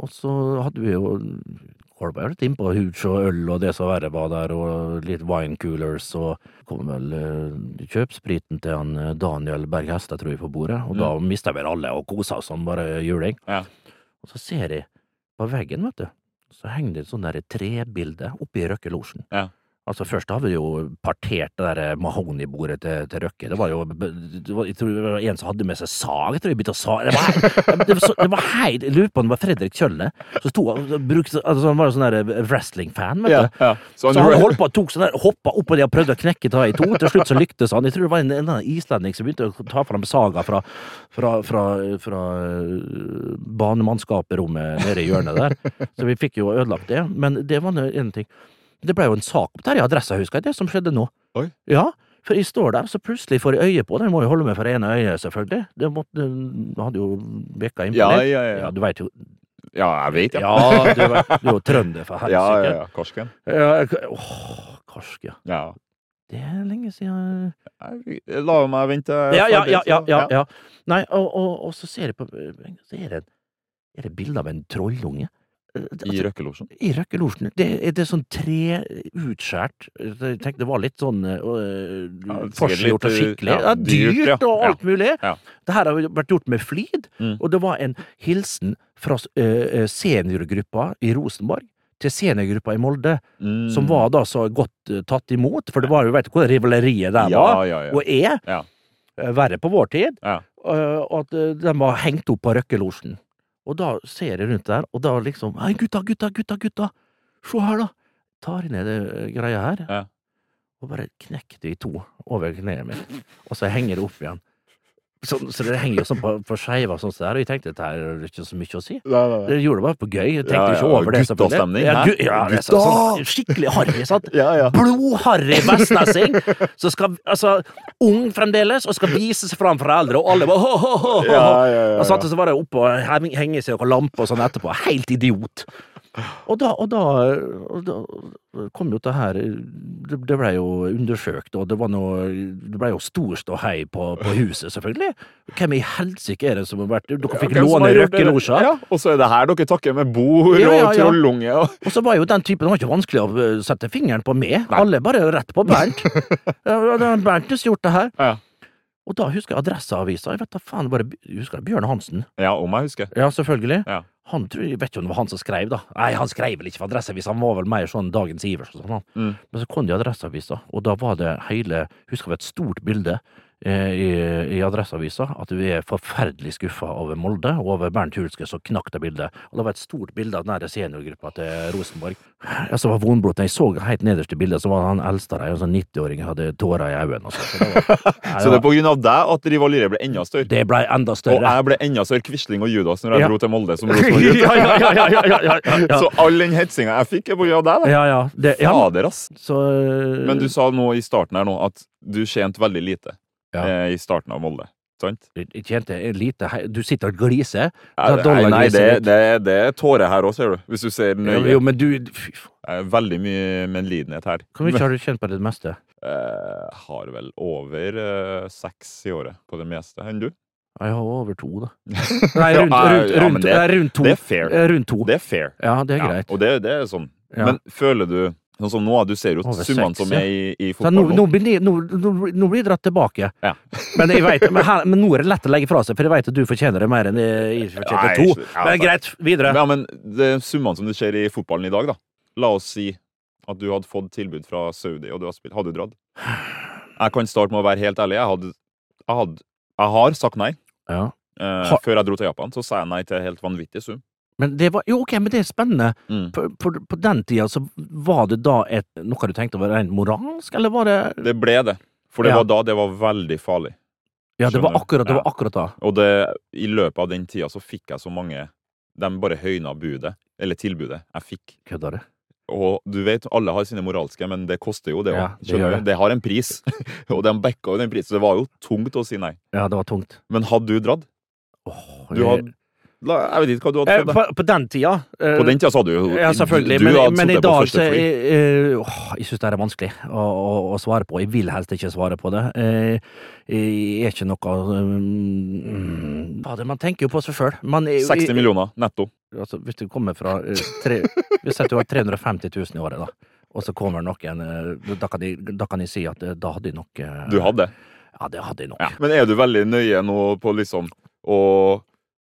Speaker 2: Og så hadde vi jo kolba litt innpå hooch og øl og det som verre var der, og litt wine coolers, og kom vel eh, kjøpspriten til han eh, Daniel Berg Hestad, tror jeg, på bordet, og da mista vi alle og kosa oss som bare juling.
Speaker 1: Ja.
Speaker 2: Og så ser jeg på veggen, vet du, så henger det et sånt der trebilde oppe i Røkkelosjen.
Speaker 1: Ja.
Speaker 2: Altså Først har vi jo partert det der eh, mahognibordet til, til Røkke. Det var jo det var, Jeg tror det var en som hadde med seg sag. Jeg tror jeg begynte å sa Det var, det var, så- det var heit Jeg lurer på om det var Fredrik Kjølle. Så sto han og brukte altså, Han var jo sånn der wrestling-fan, vet du.
Speaker 1: Ja, ja. Så
Speaker 2: Så
Speaker 1: han,
Speaker 2: han holdt på, tok sånn der, hoppa opp og de prøvde å knekke ta i to. Til slutt så lyktes han. Jeg tror det var en, en eller annen islending som begynte å ta fram saga fra, fra, fra, fra øh, banemannskaperommet nede i hjørnet der. Så vi fikk jo ødelagt det. Men det var nå en ting. Det ble jo en sak opp der i adressa, husker jeg, det som skjedde nå.
Speaker 1: Oi.
Speaker 2: Ja, for jeg står der, så plutselig får jeg øye på den. Jeg må jo holde meg for det ene øyet, selvfølgelig. Det måtte, hadde jo vekka innpå
Speaker 1: Ja,
Speaker 2: det.
Speaker 1: ja, ja.
Speaker 2: du veit jo
Speaker 1: Ja, jeg vet, ja.
Speaker 2: Ja, du, vet, du er jo trønder, for
Speaker 1: Ja, ja, ja.
Speaker 2: helsike.
Speaker 1: Karsken.
Speaker 2: Ja, k- Åh, karsk, ja.
Speaker 1: Ja.
Speaker 2: Det er lenge siden
Speaker 1: Jeg La meg vente. jeg er
Speaker 2: Ja, ja, ja.
Speaker 1: ferdig,
Speaker 2: ja,
Speaker 1: så-
Speaker 2: ja, ja. Nei, og, og, og så ser jeg på Så er det, er det bilde av en trollunge. Eh,
Speaker 1: I
Speaker 2: altså,
Speaker 1: røkkelosjen.
Speaker 2: I røkkelosjen. Det er det er sånn tre utskjært Jeg tenkte det var litt sånn eh, øh,
Speaker 1: Ja, sikkert
Speaker 2: forseggjort og
Speaker 1: litt,
Speaker 2: skikkelig.
Speaker 1: ja,
Speaker 2: Ja, dyrt,
Speaker 1: dyrt, ja.
Speaker 2: og alt mulig.
Speaker 1: Ja.
Speaker 2: Det her har jo vært gjort med flid,
Speaker 1: Mm.
Speaker 2: og det var en hilsen fra eh, eh, seniorgruppa i Rosenborg til seniorgruppa i Molde,
Speaker 1: Mm.
Speaker 2: som var da så godt eh, tatt imot, for det var jo, veit du hvordan rivaleriet der
Speaker 1: Ja,
Speaker 2: var,
Speaker 1: ja, ja.
Speaker 2: og er,
Speaker 1: Ja.
Speaker 2: eh, verre på vår tid,
Speaker 1: Ja.
Speaker 2: eh, og at eh, de var hengt opp på røkkelosjen. Og da ser jeg rundt der, og da liksom Hei, gutta, gutta, gutta, gutta! Se her, da! Tar jeg ned det eh, greia her,
Speaker 1: Ja.
Speaker 2: og bare knekker det i to over kneet mitt, og så henger det opp igjen. Sånn, så det henger jo sånn på, på skeiva, sånn som det er, og jeg tenkte dette her er ikke så mye å si.
Speaker 1: Nei, nei, nei.
Speaker 2: Jeg gjorde det bare på gøy. Jeg tenkte
Speaker 1: Ja, ja,
Speaker 2: ikke over det. selvfølgelig.
Speaker 1: guttastemning,
Speaker 2: Ja,
Speaker 1: hæ?
Speaker 2: gu ja, det er så-
Speaker 1: Gutta!
Speaker 2: sånn skikkelig harry, sant?
Speaker 1: Ja, ja.
Speaker 2: Blodharry vestnessing! Som skal, altså, ung fremdeles, og skal vise seg fram for eldre, og alle bare ho, ho, ho, ho.
Speaker 1: Ja, ja, ja, ja.
Speaker 2: Og satt og så var det oppe og heng- henge seg og lampe og sånn etterpå. Helt idiot! Og da, og da, og da kom jo det her Det det ble jo undersøkt, og det var noe Det ble jo stor ståhei på, på huset, selvfølgelig. Hvem i helsike er det som har vært Dere fikk
Speaker 1: Hvem som
Speaker 2: låne
Speaker 1: har gjort det?
Speaker 2: røkkelosja.
Speaker 1: Ja, og så er det her dere takker med bord
Speaker 2: Ja, ja,
Speaker 1: og
Speaker 2: ja.
Speaker 1: trollunge og
Speaker 2: Og så var jo den typen, det var ikke vanskelig å eh, sette fingeren på meg. Alle bare rett på Bernt. Ja, ja, det er Bernt som har gjort det her.
Speaker 1: Ja,
Speaker 2: Og da husker jeg Adresseavisa. Jeg vet da faen, bare, jeg husker Bjørn Hansen.
Speaker 1: ja om jeg husker.
Speaker 2: Ja, selvfølgelig.
Speaker 1: Ja.
Speaker 2: Han tror, jeg vet ikke om det var han som skrev, da. Nei, han skrev vel ikke for Adresseavisa, han var vel mer sånn Dagens Ivers og sånn. han.
Speaker 1: Mm.
Speaker 2: Men så kom det i Adresseavisa, og da var det hele Husker vi et stort bilde eh, i, i Adresseavisa at vi er forferdelig skuffa over Molde og over Bernt Hulske som knakk det bildet. Og det var et stort bilde av den der seniorgruppa til Rosenborg. Ja, så var vonbroten. Jeg så helt nederst i bildet, så var han eldste der, en sånn 90-åring, hadde tårer i øynene. Altså.
Speaker 1: Så
Speaker 2: Så det, var, Nei,
Speaker 1: det er på grunn av deg at rivaleriet ble enda større.
Speaker 2: det ble enda
Speaker 1: Og
Speaker 2: større.
Speaker 1: jeg ble enda større Quisling og Judas når jeg
Speaker 2: Ja.
Speaker 1: dro til Molde som Rosenborg-gutt.
Speaker 2: ja, ja, ja, ja, ja, ja, ja, ja.
Speaker 1: Så all den hetsinga jeg fikk, er på grunn av deg. da.
Speaker 2: Ja, ja. Det, ja.
Speaker 1: Fader, ass.
Speaker 2: Så
Speaker 1: Men du sa nå i starten her nå at du tjente veldig lite
Speaker 2: Ja.
Speaker 1: eh, i starten av Molde. sant?
Speaker 2: Jeg kjente en lite hei- Du sitter og gliser.
Speaker 1: Nei,
Speaker 2: Ta
Speaker 1: nei, nei, det,
Speaker 2: dollargliset ditt.
Speaker 1: det, det er tårer her òg, ser du. Hvis du ser
Speaker 2: Jo,
Speaker 1: nøye.
Speaker 2: Jo, men du fy faen.
Speaker 1: Det er Veldig mye medlidenhet her.
Speaker 2: Hvor mye har du kjent på det meste?
Speaker 1: Eh, har vel over eh, seks i året på det meste. Enn du?
Speaker 2: Jeg har over to, da. Nei, rundt,
Speaker 1: Ja,
Speaker 2: rundt,
Speaker 1: ja, men
Speaker 2: rundt,
Speaker 1: det-
Speaker 2: nei, rundt to.
Speaker 1: det er fair.
Speaker 2: Eh, Rundt to.
Speaker 1: Det er fair.
Speaker 2: Ja, det er
Speaker 1: Ja,
Speaker 2: greit.
Speaker 1: Og det, det er sånn.
Speaker 2: Ja.
Speaker 1: Men føler du Sånn som nå, du ser jo
Speaker 2: Over
Speaker 1: summene
Speaker 2: seks,
Speaker 1: som
Speaker 2: ja.
Speaker 1: er i, i
Speaker 2: Så nå,
Speaker 1: fotball
Speaker 2: nå, blir, de- nå, nå, nå blir det dratt tilbake.
Speaker 1: Ja.
Speaker 2: Men, jeg vet, men, her, men nå er det lett å legge fra seg, for jeg vet at du fortjener det mer enn jeg
Speaker 1: Nei,
Speaker 2: fortjener to.
Speaker 1: ikke- ja,
Speaker 2: Men
Speaker 1: da-
Speaker 2: greit, videre.
Speaker 1: Ja, men det er summene som du ser i fotballen i dag, da. La oss si at du hadde fått tilbud fra Saudi, og du hadde spilt. Hadde du dratt? Jeg kan starte med å være helt ærlig. Jeg hadde Jeg, hadde, jeg har sagt nei.
Speaker 2: Ja.
Speaker 1: Eh,
Speaker 2: Har-
Speaker 1: Før jeg dro til Japan, så sa jeg nei til helt vanvittig sum.
Speaker 2: Men det var, jo, ok, men det er spennende.
Speaker 1: Mm.
Speaker 2: På, på, på den tida, så var det da et, noe du tenkte var rent moralsk, eller var det
Speaker 1: Det ble det. For det
Speaker 2: Ja.
Speaker 1: var da det var veldig farlig.
Speaker 2: Ja, det var
Speaker 1: Skjønner.
Speaker 2: akkurat, det var
Speaker 1: Ja.
Speaker 2: akkurat da.
Speaker 1: Og det, i løpet av den tida så fikk jeg så mange De bare høyna budet, eller tilbudet, jeg fikk.
Speaker 2: Kødder du?
Speaker 1: Og du vet, alle har sine moralske, men det koster jo, det òg.
Speaker 2: Ja, det
Speaker 1: Skjønner
Speaker 2: gjør
Speaker 1: du?
Speaker 2: det.
Speaker 1: Det har en pris. og de backa jo den prisen. så Det var jo tungt å si nei.
Speaker 2: Ja, det var tungt.
Speaker 1: Men hadde du dratt?
Speaker 2: Åh,
Speaker 1: Du
Speaker 2: jeg-
Speaker 1: hadde, la, jeg vet ikke hva du hadde
Speaker 2: Eh,
Speaker 1: fått. da.
Speaker 2: på, på den tida eh,
Speaker 1: På den tida så hadde du jo
Speaker 2: Ja,
Speaker 1: Du,
Speaker 2: selvfølgelig.
Speaker 1: du
Speaker 2: men,
Speaker 1: hadde
Speaker 2: men i
Speaker 1: sittet på
Speaker 2: dag så
Speaker 1: første
Speaker 2: er-
Speaker 1: fly.
Speaker 2: eh, åh, Jeg syns det er vanskelig å, å, å svare på. Jeg vil helst ikke svare på det. Eh, Jeg er ikke noe eh, mm, fader, Man tenker jo på seg sjøl.
Speaker 1: 60 millioner netto.
Speaker 2: Altså, hvis du kommer fra eh, tre, Hvis at du har 350 000 i året, da. Og så kommer noen eh, Da kan de, da kan de si at eh, da hadde de nok eh,
Speaker 1: Du hadde det.
Speaker 2: Ja, det hadde de nok.
Speaker 1: Ja. Men er du veldig nøye nå på liksom og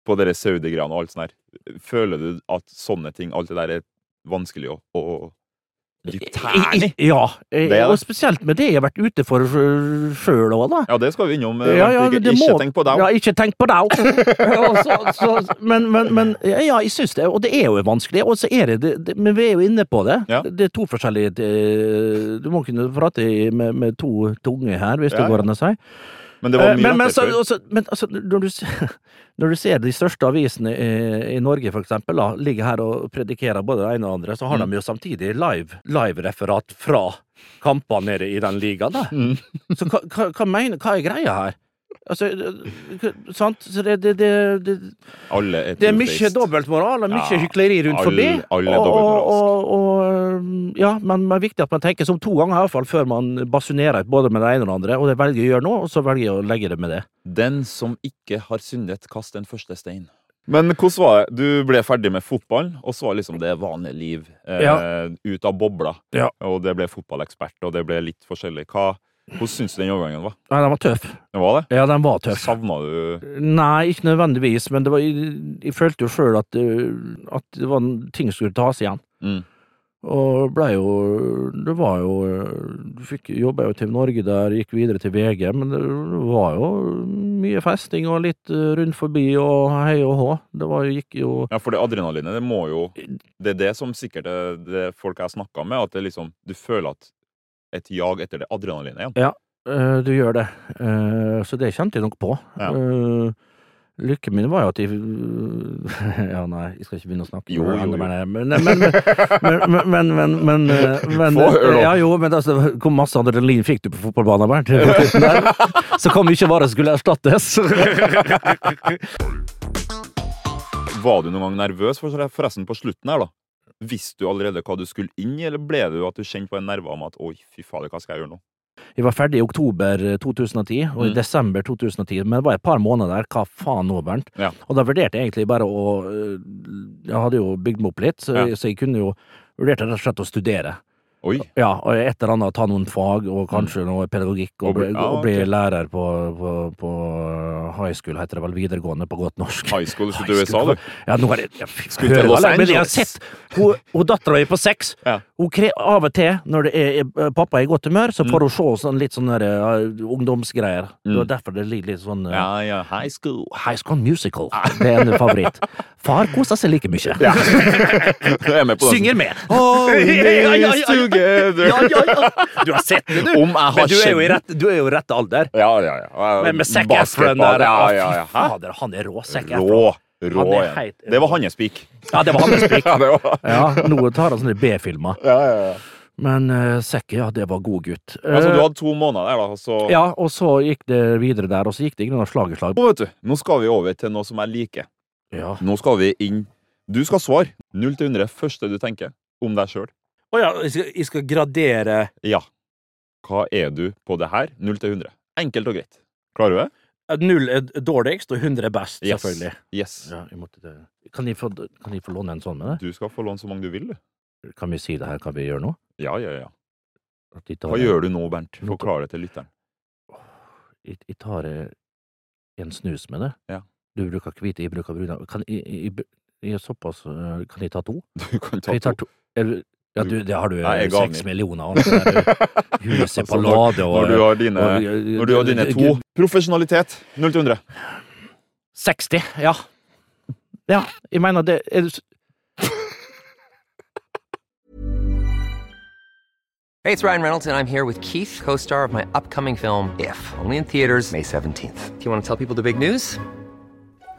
Speaker 1: på dere Saudi-greiene og alt sånt her? Føler du at sånne ting, alt det der, er vanskelig å, å bli tærne i?
Speaker 2: Ja, eh,
Speaker 1: Det er det.
Speaker 2: og spesielt med det jeg har vært ute for sjøl òg, da.
Speaker 1: Ja, det skal vi innom. eh,
Speaker 2: Ja, ja,
Speaker 1: Bernt.
Speaker 2: det
Speaker 1: ikke ikke
Speaker 2: må-
Speaker 1: tenk på deg.
Speaker 2: Ja, ikke tenk på deg. Og så- så- men, men, men ja, jeg syns det. Og det er jo vanskelig. Og så er det, det, det Men vi er jo inne på det.
Speaker 1: Ja.
Speaker 2: Det er to forskjellige eh, Du må kunne prate i- med, med to tunge her, hvis
Speaker 1: Ja,
Speaker 2: det
Speaker 1: ja.
Speaker 2: går an å si.
Speaker 1: Men det var
Speaker 2: Eh,
Speaker 1: mye
Speaker 2: men, men, så,
Speaker 1: lettere før.
Speaker 2: også, men altså, når du, ser- når du ser de største avisene i, i Norge, for eksempel, da, ligger her og predikerer både det ene og det andre,
Speaker 1: Mm.
Speaker 2: så har de jo samtidig live- live-referat fra kampene nede i den ligaen. Da.
Speaker 1: Mm.
Speaker 2: Så hva, hva, hva, mener, hva er greia her? Altså, hva- sant? Så det, det, det, det,
Speaker 1: Alle
Speaker 2: det er mye
Speaker 1: trofeist.
Speaker 2: dobbeltmoral og mye
Speaker 1: Ja,
Speaker 2: hykleri rundt
Speaker 1: all-
Speaker 2: forbi.
Speaker 1: all er
Speaker 2: og, og,
Speaker 1: dobbeltmoralsk.
Speaker 2: og, og, ja, men det er viktig at man tenker seg om to ganger i hvert fall før man basunerer både med det ene og det andre, og det velger jeg å gjøre nå, og så velger jeg å legge det med det.
Speaker 1: Den som ikke har syndet, kast den første stein. Men hvordan var det? Du ble ferdig med fotballen, og så var liksom det vanlige liv. Eh,
Speaker 2: Ja.
Speaker 1: Ut av bobla.
Speaker 2: Ja.
Speaker 1: Og det ble fotballekspert, og det ble litt forskjellig. Hva, hvordan syns du den overgangen var?
Speaker 2: Nei, den var tøff.
Speaker 1: Den var det?
Speaker 2: Ja, den var tøff.
Speaker 1: Savna du
Speaker 2: Nei, ikke nødvendigvis, men det var, jeg, jeg følte jo sjøl at, det- at det var en- ting som skulle tas igjen.
Speaker 1: Mm.
Speaker 2: Og blei jo Det var jo Du fikk jobba jo til Norge der, gikk videre til VG, men det var jo mye festing og litt eh, rundt forbi og hei og hå. Det var jo, gikk jo
Speaker 1: Ja, for det adrenalinet, det må jo Det er det som sikkert er det folk jeg snakka med, at det liksom Du føler at et jag etter det adrenalinet igjen.
Speaker 2: Eh, Du gjør det. Eh, Så det kjente jeg nok på.
Speaker 1: Ja.
Speaker 2: Eh, Lykken min var jo at jeg Ja, nei, jeg skal ikke begynne å snakke
Speaker 1: Jo,
Speaker 2: om
Speaker 1: jo,
Speaker 2: andre,
Speaker 1: jo.
Speaker 2: Men, eh, men, men, men, men, men, men, eh, men
Speaker 1: Få høre nå.
Speaker 2: Ja, jo, men altså, hvor masse adrenalin fikk du på fotballbanen, Bernt? På slutten der? Så kom ikke bare skulle erstattes.
Speaker 1: Var du noen gang nervøs for- forresten på slutten her, da? Visste du allerede hva du skulle inn i, eller ble du at du kjente på en nerve om at oi, fy fader, hva skal jeg gjøre nå?
Speaker 2: Jeg var ferdig i oktober 2010, og i
Speaker 1: Mm.
Speaker 2: desember 2010, men det var et par måneder der. Hva faen nå, Bernt?
Speaker 1: Ja.
Speaker 2: Og da vurderte jeg egentlig bare å øh, Jeg hadde jo bygd meg opp litt, så,
Speaker 1: Ja.
Speaker 2: så jeg kunne jo Vurderte rett og slett å studere.
Speaker 1: Oi.
Speaker 2: Ja, og et eller annet, ta noen fag, og kanskje noe pedagogikk,
Speaker 1: Mm. Og
Speaker 2: og bli,
Speaker 1: bli- ja,
Speaker 2: og bli
Speaker 1: ok.
Speaker 2: lærer på, på, på high school, heter det vel, videregående på godt norsk.
Speaker 1: High school, skulle
Speaker 2: High
Speaker 1: til USA,
Speaker 2: school.
Speaker 1: du.
Speaker 2: Ja, nå er det ja, fy,
Speaker 1: Skulle til
Speaker 2: hør,
Speaker 1: Los
Speaker 2: alle, Men jeg har
Speaker 1: Angeles.
Speaker 2: sett Hun, hun dattera mi på seks
Speaker 1: Ja.
Speaker 2: Hun kre, Av og til, når det er, er pappa er i godt humør, så
Speaker 1: Mm.
Speaker 2: får hun se sånn, litt sånne der, ja, ungdomsgreier. Det var derfor det ligger litt sånn eh,
Speaker 1: Ja, Ah. ja, high school.
Speaker 2: High School Musical. Det er en favoritt. Far koser seg like mye.
Speaker 1: Jeg er med på den.
Speaker 2: Synger med.
Speaker 1: All
Speaker 2: Ja, ja,
Speaker 1: is
Speaker 2: ja, ja.
Speaker 1: together.
Speaker 2: Ja, ja, ja. Du har sett det, du.
Speaker 1: Om jeg har
Speaker 2: Men du er jo i
Speaker 1: skjedd.
Speaker 2: rett, du er jo i rett alder.
Speaker 1: Ja, ja, ja.
Speaker 2: Men med Zac
Speaker 1: Basketball,
Speaker 2: Efron der
Speaker 1: Ja, ja, ja.
Speaker 2: Å, fy
Speaker 1: Hæ?
Speaker 2: Fader, han er rå, Zac Efron.
Speaker 1: Rå. Rå,
Speaker 2: Han er
Speaker 1: ja.
Speaker 2: heit.
Speaker 1: Det var hans pikk.
Speaker 2: Ja, det var hans pikk.
Speaker 1: Ja, det var
Speaker 2: Ja, nå tar han sånne B-filmer.
Speaker 1: ja, ja, ja.
Speaker 2: Men eh, Sekke, ja, det var god gutt.
Speaker 1: Altså,
Speaker 2: Eh,
Speaker 1: du hadde to måneder der, da. Så
Speaker 2: Ja, og så gikk det videre der, og så gikk det ikke noe slag i slag.
Speaker 1: nå, vet du, nå skal vi over til noe som jeg liker.
Speaker 2: Ja.
Speaker 1: Nå skal vi inn Du skal svare 0 til 100 første du tenker om deg sjøl.
Speaker 3: Å ja, jeg skal, jeg skal gradere
Speaker 1: Ja. Hva er du på det her? 0 til 100. Enkelt og greit. Klarer du det?
Speaker 3: eh, Null er dårligst, og 100 er best,
Speaker 1: Yes.
Speaker 3: selvfølgelig.
Speaker 1: Yes.
Speaker 2: Ja, jeg måtte det. Kan, jeg få, kan jeg få låne en sånn med
Speaker 1: Du skal få låne så mange du vil, du.
Speaker 2: deg? Kan vi si det her, hva vi gjør nå?
Speaker 1: Ja, ja, ja.
Speaker 2: At jeg tar,
Speaker 1: Hva gjør du nå, Bernt?
Speaker 2: Nå-
Speaker 1: Forklar det til lytteren.
Speaker 2: Jeg, jeg tar eh, en snus med det.
Speaker 1: Ja.
Speaker 2: Du bruker hvite, jeg bruker brune. Kan jeg, jeg, jeg, jeg er såpass eh, Kan jeg ta to?
Speaker 1: Du kan ta
Speaker 2: Jeg tar
Speaker 1: to.
Speaker 2: to. Er du- Ja, du, det har du
Speaker 1: Nei, jeg ga
Speaker 2: seks
Speaker 1: den.
Speaker 2: millioner av. altså. Huset på Lade og
Speaker 1: Når du har dine,
Speaker 2: eh, og-
Speaker 1: når du har dine to Profesjonalitet. 0 til 100.
Speaker 2: 60, ja. Ja, jeg mener det er,
Speaker 4: Hey, it's Ryan Reynolds, and I'm here with Keith, co star of my upcoming film, If, only in theaters, May 17th. Do you want to tell people the big news? All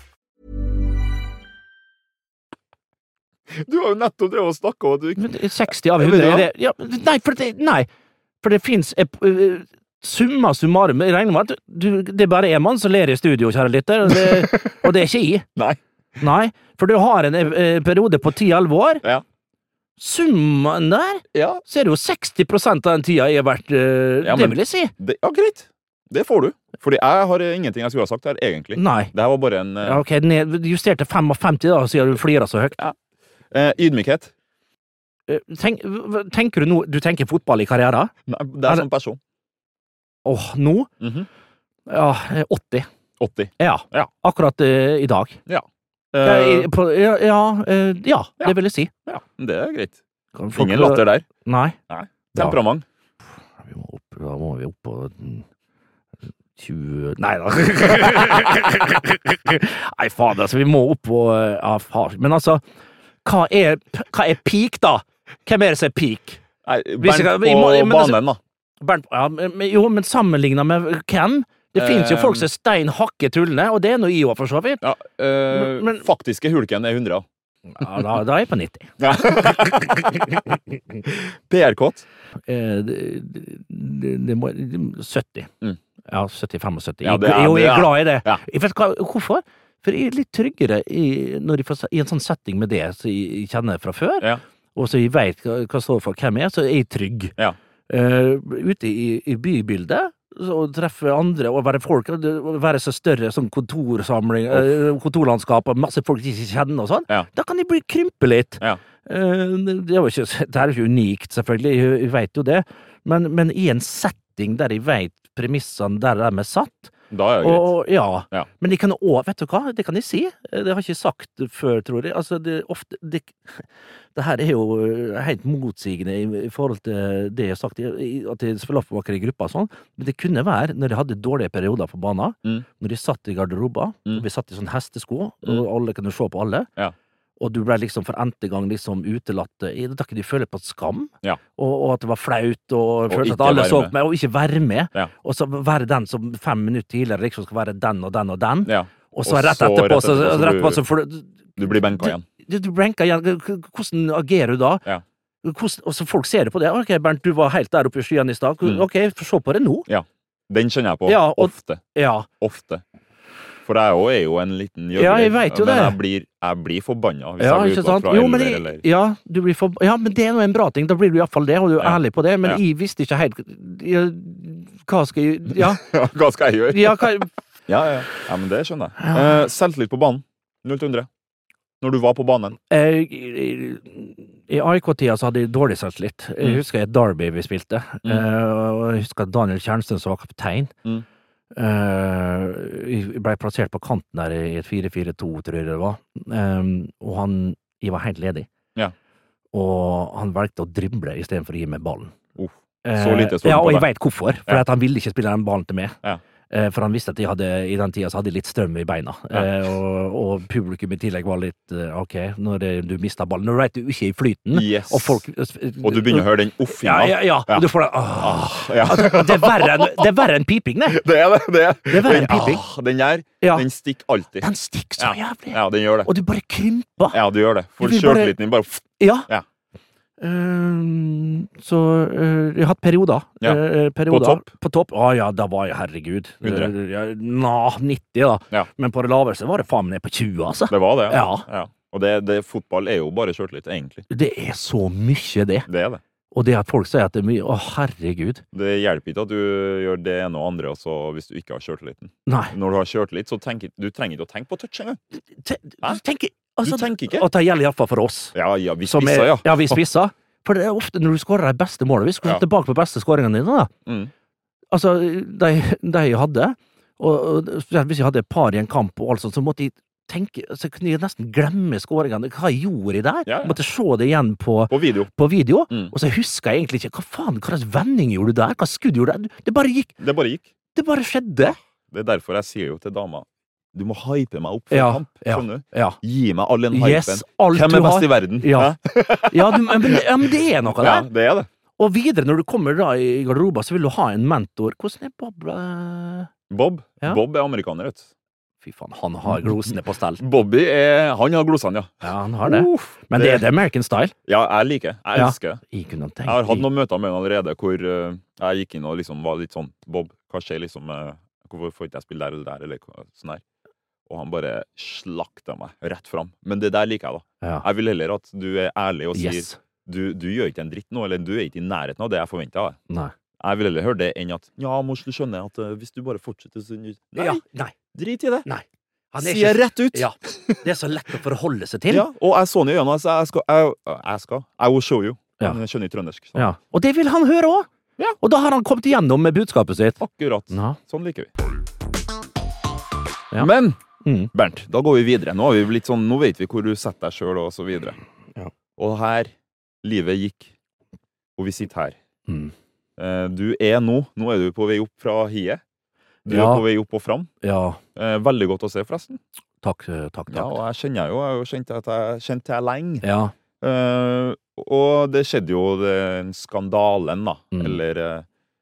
Speaker 1: Du har jo nettopp drevet og snakka om at du
Speaker 2: men det er 60 av
Speaker 1: Ja,
Speaker 2: 100.
Speaker 1: men ja.
Speaker 2: Er det, ja, nei, for det, nei, for det fins Summa summarum, jeg regner med at du, det er bare én mann som ler i studio, kjære lytter, og det, og det er ikke jeg.
Speaker 1: Nei.
Speaker 2: Nei, for du har en eh, periode på 10-11 år.
Speaker 1: Ja.
Speaker 2: Summen der,
Speaker 1: Ja,
Speaker 2: så er det jo 60 av den tida jeg har vært eh,
Speaker 1: Ja,
Speaker 2: Det
Speaker 1: men-
Speaker 2: vil jeg si.
Speaker 1: det, ja greit. Det får du. Fordi jeg har eh, ingenting jeg skulle ha sagt her, egentlig.
Speaker 2: Nei.
Speaker 1: Det her var bare en eh,
Speaker 2: Ja, ok, ned, justert til 55 da, siden du flirer så høyt.
Speaker 1: eh, ydmykhet.
Speaker 2: Eh, Tenk, hva- tenker du nå Du tenker fotball i karrieren?
Speaker 1: Nei, det
Speaker 2: Er
Speaker 1: er
Speaker 2: det-
Speaker 1: som person.
Speaker 2: Åh, nå?
Speaker 1: Mhm.
Speaker 2: Ja, eh, 80.
Speaker 1: 80.
Speaker 2: Ja.
Speaker 1: Ja.
Speaker 2: Akkurat eh, i dag. Ja,
Speaker 1: Eh,
Speaker 2: i- på, ja, ja, eh, ja,
Speaker 1: Ja.
Speaker 2: det vil jeg si.
Speaker 1: ja, Eh, det er greit.
Speaker 2: Kan folk-
Speaker 1: Ingen latter der.
Speaker 2: Nei.
Speaker 1: Temperament.
Speaker 2: Vi må opp, da må vi opp på mm, 20 Nei da. Nei, faen, altså. Vi må opp på eh, Ja, faen. Men altså, hva er, hva er peak, da? Hvem er det som er peak?
Speaker 1: Nei, Bernt
Speaker 2: Hvis jeg
Speaker 1: på
Speaker 2: kan- vi må- men altså-
Speaker 1: banen, da.
Speaker 2: Bernt, ja, men, men- jo, men sammenligna med hvem? Det finnes jo
Speaker 1: Eh,
Speaker 2: folk som er stein hakke trullende, og det er nå jeg òg, for så vidt.
Speaker 1: Ja, eh,
Speaker 2: Men- men-
Speaker 1: faktiske hulken er 100.
Speaker 2: Ja, da, da er jeg på 90.
Speaker 1: Ja. PR-kåt.
Speaker 2: Eh, det, det, det må, 70.
Speaker 1: Mm.
Speaker 2: Ja, 75-70.
Speaker 1: Ja, det
Speaker 2: jeg,
Speaker 1: er-
Speaker 2: jo, jeg
Speaker 1: det
Speaker 2: er
Speaker 1: er-
Speaker 2: glad i det.
Speaker 1: ja.
Speaker 2: Jeg vet hva, hvorfor? For jeg er litt tryggere i, når jeg får, se- i en sånn setting med det som jeg kjenner fra før,
Speaker 1: Ja.
Speaker 2: og så jeg veit hva, hva står for hvem jeg er, så er jeg trygg.
Speaker 1: Ja.
Speaker 2: Eh, ute i, i bybildet så- og treffe andre og være folk, og det- og være så større sånn kontorsamling, eh, kontorlandskap og masse folk jeg ikke kjenner og sånn,
Speaker 1: Ja.
Speaker 2: da kan jeg bli, krympe litt.
Speaker 1: Ja.
Speaker 2: Eh, det, det er jo ikke, det her er jo ikke unikt, selvfølgelig, jeg, jeg veit jo det, men, men i en setting der jeg veit premissene der de er satt,
Speaker 1: Da er det greit.
Speaker 2: og, ja.
Speaker 1: Ja.
Speaker 2: Men de kan òg Vet du hva, det kan de si. Eh, Det har jeg ikke sagt før, tror jeg. Altså, det, er ofte, det, det her er jo eh, helt motsigende i, i forhold til det jeg har sagt, i- i- at jeg spiller oppmaker i gruppa og sånn. Men det kunne være når jeg hadde dårlige perioder på banen,
Speaker 1: Mm.
Speaker 2: når de satt i garderober,
Speaker 1: Mm.
Speaker 2: og vi satt i sånn hestesko, og
Speaker 1: Mm.
Speaker 2: alle kunne se på alle.
Speaker 1: Ja.
Speaker 2: Og du ble liksom for n-te gang liksom utelatt. eh, Da kunne de føle på skam,
Speaker 1: Ja.
Speaker 2: og, og at det var flaut, og, følte at
Speaker 1: ikke
Speaker 2: alle
Speaker 1: være
Speaker 2: så
Speaker 1: med.
Speaker 2: på meg, og ikke være med.
Speaker 1: Ja.
Speaker 2: Og så være den som fem minutter tidligere liksom skal være den og den og den.
Speaker 1: Ja.
Speaker 2: Og så rett etterpå, så, rett etterpå så får du
Speaker 1: Du blir benka igjen.
Speaker 2: Du, du brenker igjen. K- k- Hvordan agerer du da?
Speaker 1: Ja.
Speaker 2: Hvordan, og så folk ser det på det. Ok, Bernt, du var helt der oppe i skyene i stad.
Speaker 1: Mm.
Speaker 2: Ok, få se på det nå.
Speaker 1: Den kjenner jeg på
Speaker 2: Ja, og-
Speaker 1: ofte.
Speaker 2: Ja.
Speaker 1: Ofte. For jeg òg er jo en liten gjøgler.
Speaker 2: Ja, jeg vet jo
Speaker 1: men
Speaker 2: det.
Speaker 1: jeg blir, jeg blir forbanna hvis
Speaker 2: ja,
Speaker 1: jeg blir
Speaker 2: ikke
Speaker 1: utelatt
Speaker 2: sant?
Speaker 1: fra
Speaker 2: Jo, men,
Speaker 1: elver
Speaker 2: jeg,
Speaker 1: eller
Speaker 2: ja, du blir for, ja, men det er nå en bra ting. Da blir du iallfall det, og du er
Speaker 1: Ja.
Speaker 2: ærlig på det. Men
Speaker 1: Ja.
Speaker 2: jeg visste ikke helt ja, Hva skal jeg Ja,
Speaker 1: Hva skal jeg gjøre?
Speaker 2: ja hva,
Speaker 1: Ja, ja, ja. ja men det skjønner jeg. Eh, selvtillit på banen. 0-100. Når du var på banen.
Speaker 2: Jeg, Eh, I AIK-tida så hadde jeg dårlig selvtillit. Jeg
Speaker 1: Mm.
Speaker 2: husker et derby vi spilte.
Speaker 1: Mm.
Speaker 2: eh, og jeg husker at Daniel Kjernsten som var kaptein.
Speaker 1: Mm.
Speaker 2: eh, jeg ble plassert på kanten der i et 4-4-2, tror jeg det var. Eh, og han jeg var helt ledig.
Speaker 1: Ja.
Speaker 2: Og han valgte å drible istedenfor å gi meg ballen.
Speaker 1: Uff.
Speaker 2: Eh,
Speaker 1: Så lite stolte
Speaker 2: ja,
Speaker 1: på
Speaker 2: og jeg
Speaker 1: deg.
Speaker 2: veit hvorfor. For
Speaker 1: Ja.
Speaker 2: at han ville ikke spille den ballen til meg.
Speaker 1: Ja.
Speaker 2: Eh, For han visste at jeg hadde, i den tida så hadde jeg litt strøm i beina.
Speaker 1: Ja.
Speaker 2: Eh, Og, og publikum i tillegg var litt eh, OK, når det- du mister ballen Når du veit du ikke er i flyten,
Speaker 1: Yes.
Speaker 2: og folk eh,
Speaker 1: Og du begynner å høre den offinga.
Speaker 2: Ja, ja, ja.
Speaker 1: Ja.
Speaker 2: Og du får det åh.
Speaker 1: Ja.
Speaker 2: Altså, Det er verre enn, det er verre enn piping, det!
Speaker 1: Det er det. det, er.
Speaker 2: Det er verre
Speaker 1: den,
Speaker 2: piping.
Speaker 1: ah, den der,
Speaker 2: Ja.
Speaker 1: den stikker alltid.
Speaker 2: Den stikker så jævlig.
Speaker 1: Ja, den gjør det.
Speaker 2: Og du bare krymper.
Speaker 1: Ja, du gjør det. For
Speaker 2: Du vil bare-
Speaker 1: sjøltilliten din bare pff,
Speaker 2: Ja.
Speaker 1: Ja.
Speaker 2: Ehm, så eh, jeg har hatt perioder.
Speaker 1: Ja.
Speaker 2: Eh, perioder.
Speaker 1: På topp?
Speaker 2: På topp. Å ja, da var jeg herregud.
Speaker 1: 100.
Speaker 2: Eh, ja, Nå, 90, da.
Speaker 1: Ja.
Speaker 2: Men på det laveste var det faen meg ned på 20, altså.
Speaker 1: Det var det,
Speaker 2: Ja.
Speaker 1: Og det, det, fotball er jo bare sjøltillit, egentlig.
Speaker 2: Det er så mye, det.
Speaker 1: Det er det.
Speaker 2: Og det at folk sier at det er mye Å, herregud.
Speaker 1: Det hjelper ikke at du gjør det ene og andre også, hvis du ikke har sjøltilliten.
Speaker 2: Nei.
Speaker 1: Når du har sjøltillit, så tenker du trenger ikke å tenke på touch engang.
Speaker 2: Te-
Speaker 1: Hæ?
Speaker 2: Du tenker, altså,
Speaker 1: Du tenker ikke.
Speaker 2: Og det gjelder iallfall for oss.
Speaker 1: Ja, ja, vi
Speaker 2: som er-
Speaker 1: spisser, ja.
Speaker 2: Ja, vi spisser. For det er ofte når du skårer de beste målene Vi skulle
Speaker 1: Ja.
Speaker 2: ja. tilbake på beste skåringene dine, da.
Speaker 1: Mm.
Speaker 2: Altså, de, de jeg hadde og, og spesielt Hvis jeg hadde et par i en kamp, og alt sånt, så måtte jeg tenke Så kunne jeg nesten glemme skåringene. Hva gjorde jeg der?
Speaker 1: Ja, ja.
Speaker 2: Måtte se det igjen på,
Speaker 1: På video.
Speaker 2: på video.
Speaker 1: Mm.
Speaker 2: Og så husker jeg egentlig ikke Hva faen, hva slags vending gjorde du der? Hva skudd gjorde du der? Det bare gikk.
Speaker 1: Det bare gikk.
Speaker 2: Det bare skjedde.
Speaker 1: Det er derfor jeg sier jo til dama Du må hype meg opp for
Speaker 2: Ja,
Speaker 1: kamp.
Speaker 2: ja.
Speaker 1: Skjønner du?
Speaker 2: Ja.
Speaker 1: Gi meg all den
Speaker 2: Yes,
Speaker 1: hypen.
Speaker 2: alt
Speaker 1: Hvem
Speaker 2: du
Speaker 1: er best
Speaker 2: har.
Speaker 1: i verden?
Speaker 2: Ja.
Speaker 1: Hæ?
Speaker 2: Ja, du, men, ja, men det er noe
Speaker 1: ja,
Speaker 2: der.
Speaker 1: det er det.
Speaker 2: Og videre, når du kommer da i garderoben, så vil du ha en mentor. Hvordan er Bob eh,
Speaker 1: Bob
Speaker 2: Ja.
Speaker 1: Bob er amerikaner, vet du.
Speaker 2: Fy faen, han har glosene på stell.
Speaker 1: Bobby er, han har glosene, ja.
Speaker 2: Ja, han har det.
Speaker 1: Uff,
Speaker 2: Men det er det American style.
Speaker 1: Ja, jeg liker det. Jeg
Speaker 2: Ja.
Speaker 1: elsker det.
Speaker 2: Jeg kunne tenkt
Speaker 1: Jeg har hatt noen møter med han allerede hvor eh, jeg gikk inn og liksom var litt sånn Bob, hva skjer liksom eh, Hvorfor får ikke jeg spille der eller der, eller hva- sånn her? Og han bare slakta meg rett fram. Men det der liker jeg, da.
Speaker 2: Ja.
Speaker 1: Jeg vil heller at du er ærlig og sier
Speaker 2: Yes.
Speaker 1: du, du gjør ikke en dritt nå, eller du er ikke i nærheten av det jeg forventa av deg.
Speaker 2: Nei.
Speaker 1: Jeg vil heller høre det enn at ja, mors, du skjønner at eh, hvis du bare fortsetter sånn Nei,
Speaker 2: Ja, nei.
Speaker 1: drit i det.
Speaker 2: Nei.
Speaker 1: Si det rett ut.
Speaker 2: Ja. Det er så lett å forholde seg til.
Speaker 1: Ja, og jeg så han i øynene, så jeg skal Jeg, jeg skal. I will show you.
Speaker 2: Ja.
Speaker 1: Men Jeg skjønner ikke trøndersk. så.
Speaker 2: Ja. Og det vil han høre òg!
Speaker 1: Ja.
Speaker 2: Og da har han kommet igjennom med budskapet sitt.
Speaker 1: Akkurat.
Speaker 2: Ja.
Speaker 1: Sånn liker vi.
Speaker 2: Mm. Ja.
Speaker 1: Men
Speaker 2: Mm.
Speaker 1: Bernt, da går vi videre. Nå, har vi blitt sånn, nå vet vi hvor du setter deg sjøl, og så videre.
Speaker 2: Ja.
Speaker 1: Og her Livet gikk, og vi sitter her.
Speaker 2: Mm.
Speaker 1: Eh, Du er nå Nå er du på vei opp fra hiet. Du
Speaker 2: Ja.
Speaker 1: er på vei opp og fram.
Speaker 2: Ja.
Speaker 1: Eh, Veldig godt å se, forresten.
Speaker 2: Takk, eh, takk,
Speaker 1: Ja, og
Speaker 2: takk.
Speaker 1: jeg kjenner jo, jeg har jo kjent at jeg kjent til deg lenge.
Speaker 2: Ja.
Speaker 1: Eh, og det skjedde jo den skandalen, da.
Speaker 2: Mm.
Speaker 1: Eller eh,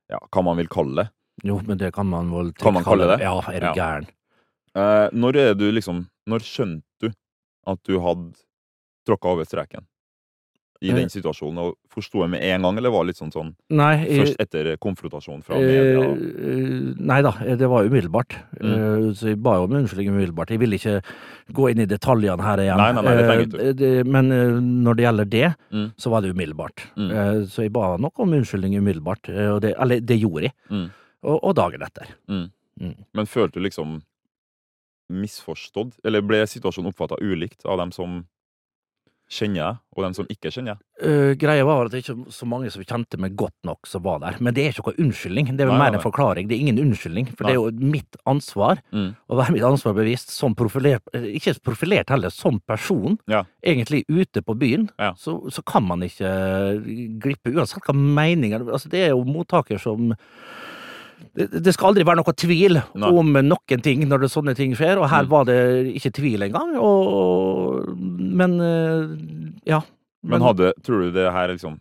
Speaker 1: ja, hva man vil kalle det.
Speaker 2: Jo, men det kan man vel
Speaker 1: Kan man kalle det?
Speaker 2: Ja, er du
Speaker 1: Ja.
Speaker 2: gæren?
Speaker 1: Eh, når er du liksom Når skjønte du at du hadde tråkka over streken
Speaker 2: Eh.
Speaker 1: i den situasjonen? Og Forsto jeg med en gang, eller var det litt sånn sånn
Speaker 2: Nei, jeg-
Speaker 1: først etter konfrontasjonen fra media? og-
Speaker 2: Eh, eh, nei da, eh, det var umiddelbart.
Speaker 1: Mm.
Speaker 2: Eh, så jeg ba jo om unnskyldning umiddelbart. Jeg vil ikke gå inn i detaljene her igjen.
Speaker 1: Nei, nei, nei, det trenger du ikke.
Speaker 2: Eh, det- men eh, når det gjelder det,
Speaker 1: Mm.
Speaker 2: så var det umiddelbart.
Speaker 1: Mm.
Speaker 2: Eh, så jeg ba nok om unnskyldning umiddelbart. eh, og det, eller, det gjorde jeg.
Speaker 1: Mm.
Speaker 2: Og, og dagen etter.
Speaker 1: Men følte du liksom misforstått? Eller ble situasjonen oppfatta ulikt av dem som kjenner deg, og dem som ikke kjenner deg?
Speaker 2: Eh, greia var at det ikke var så mange som kjente meg godt nok, som var der. Men det er ikke noe unnskyldning. Det er vel
Speaker 1: Nei, nei,
Speaker 2: mer en
Speaker 1: nei.
Speaker 2: forklaring. Det er ingen unnskyldning, for
Speaker 1: Nei.
Speaker 2: det er jo mitt ansvar
Speaker 1: Mm.
Speaker 2: å være mitt ansvar bevisst som profilert, eh, ikke profilert heller, som person,
Speaker 1: Ja.
Speaker 2: egentlig ute på byen,
Speaker 1: Ja.
Speaker 2: så, så kan man ikke eh, glippe, uansett hva meningen altså Det er jo mottaker som det, det skal aldri være noe tvil
Speaker 1: Nei. Mm.
Speaker 2: om noen ting når det sånne ting skjer, og her var det ikke tvil engang, og, men eh, ja.
Speaker 1: Men hadde, tror du det her liksom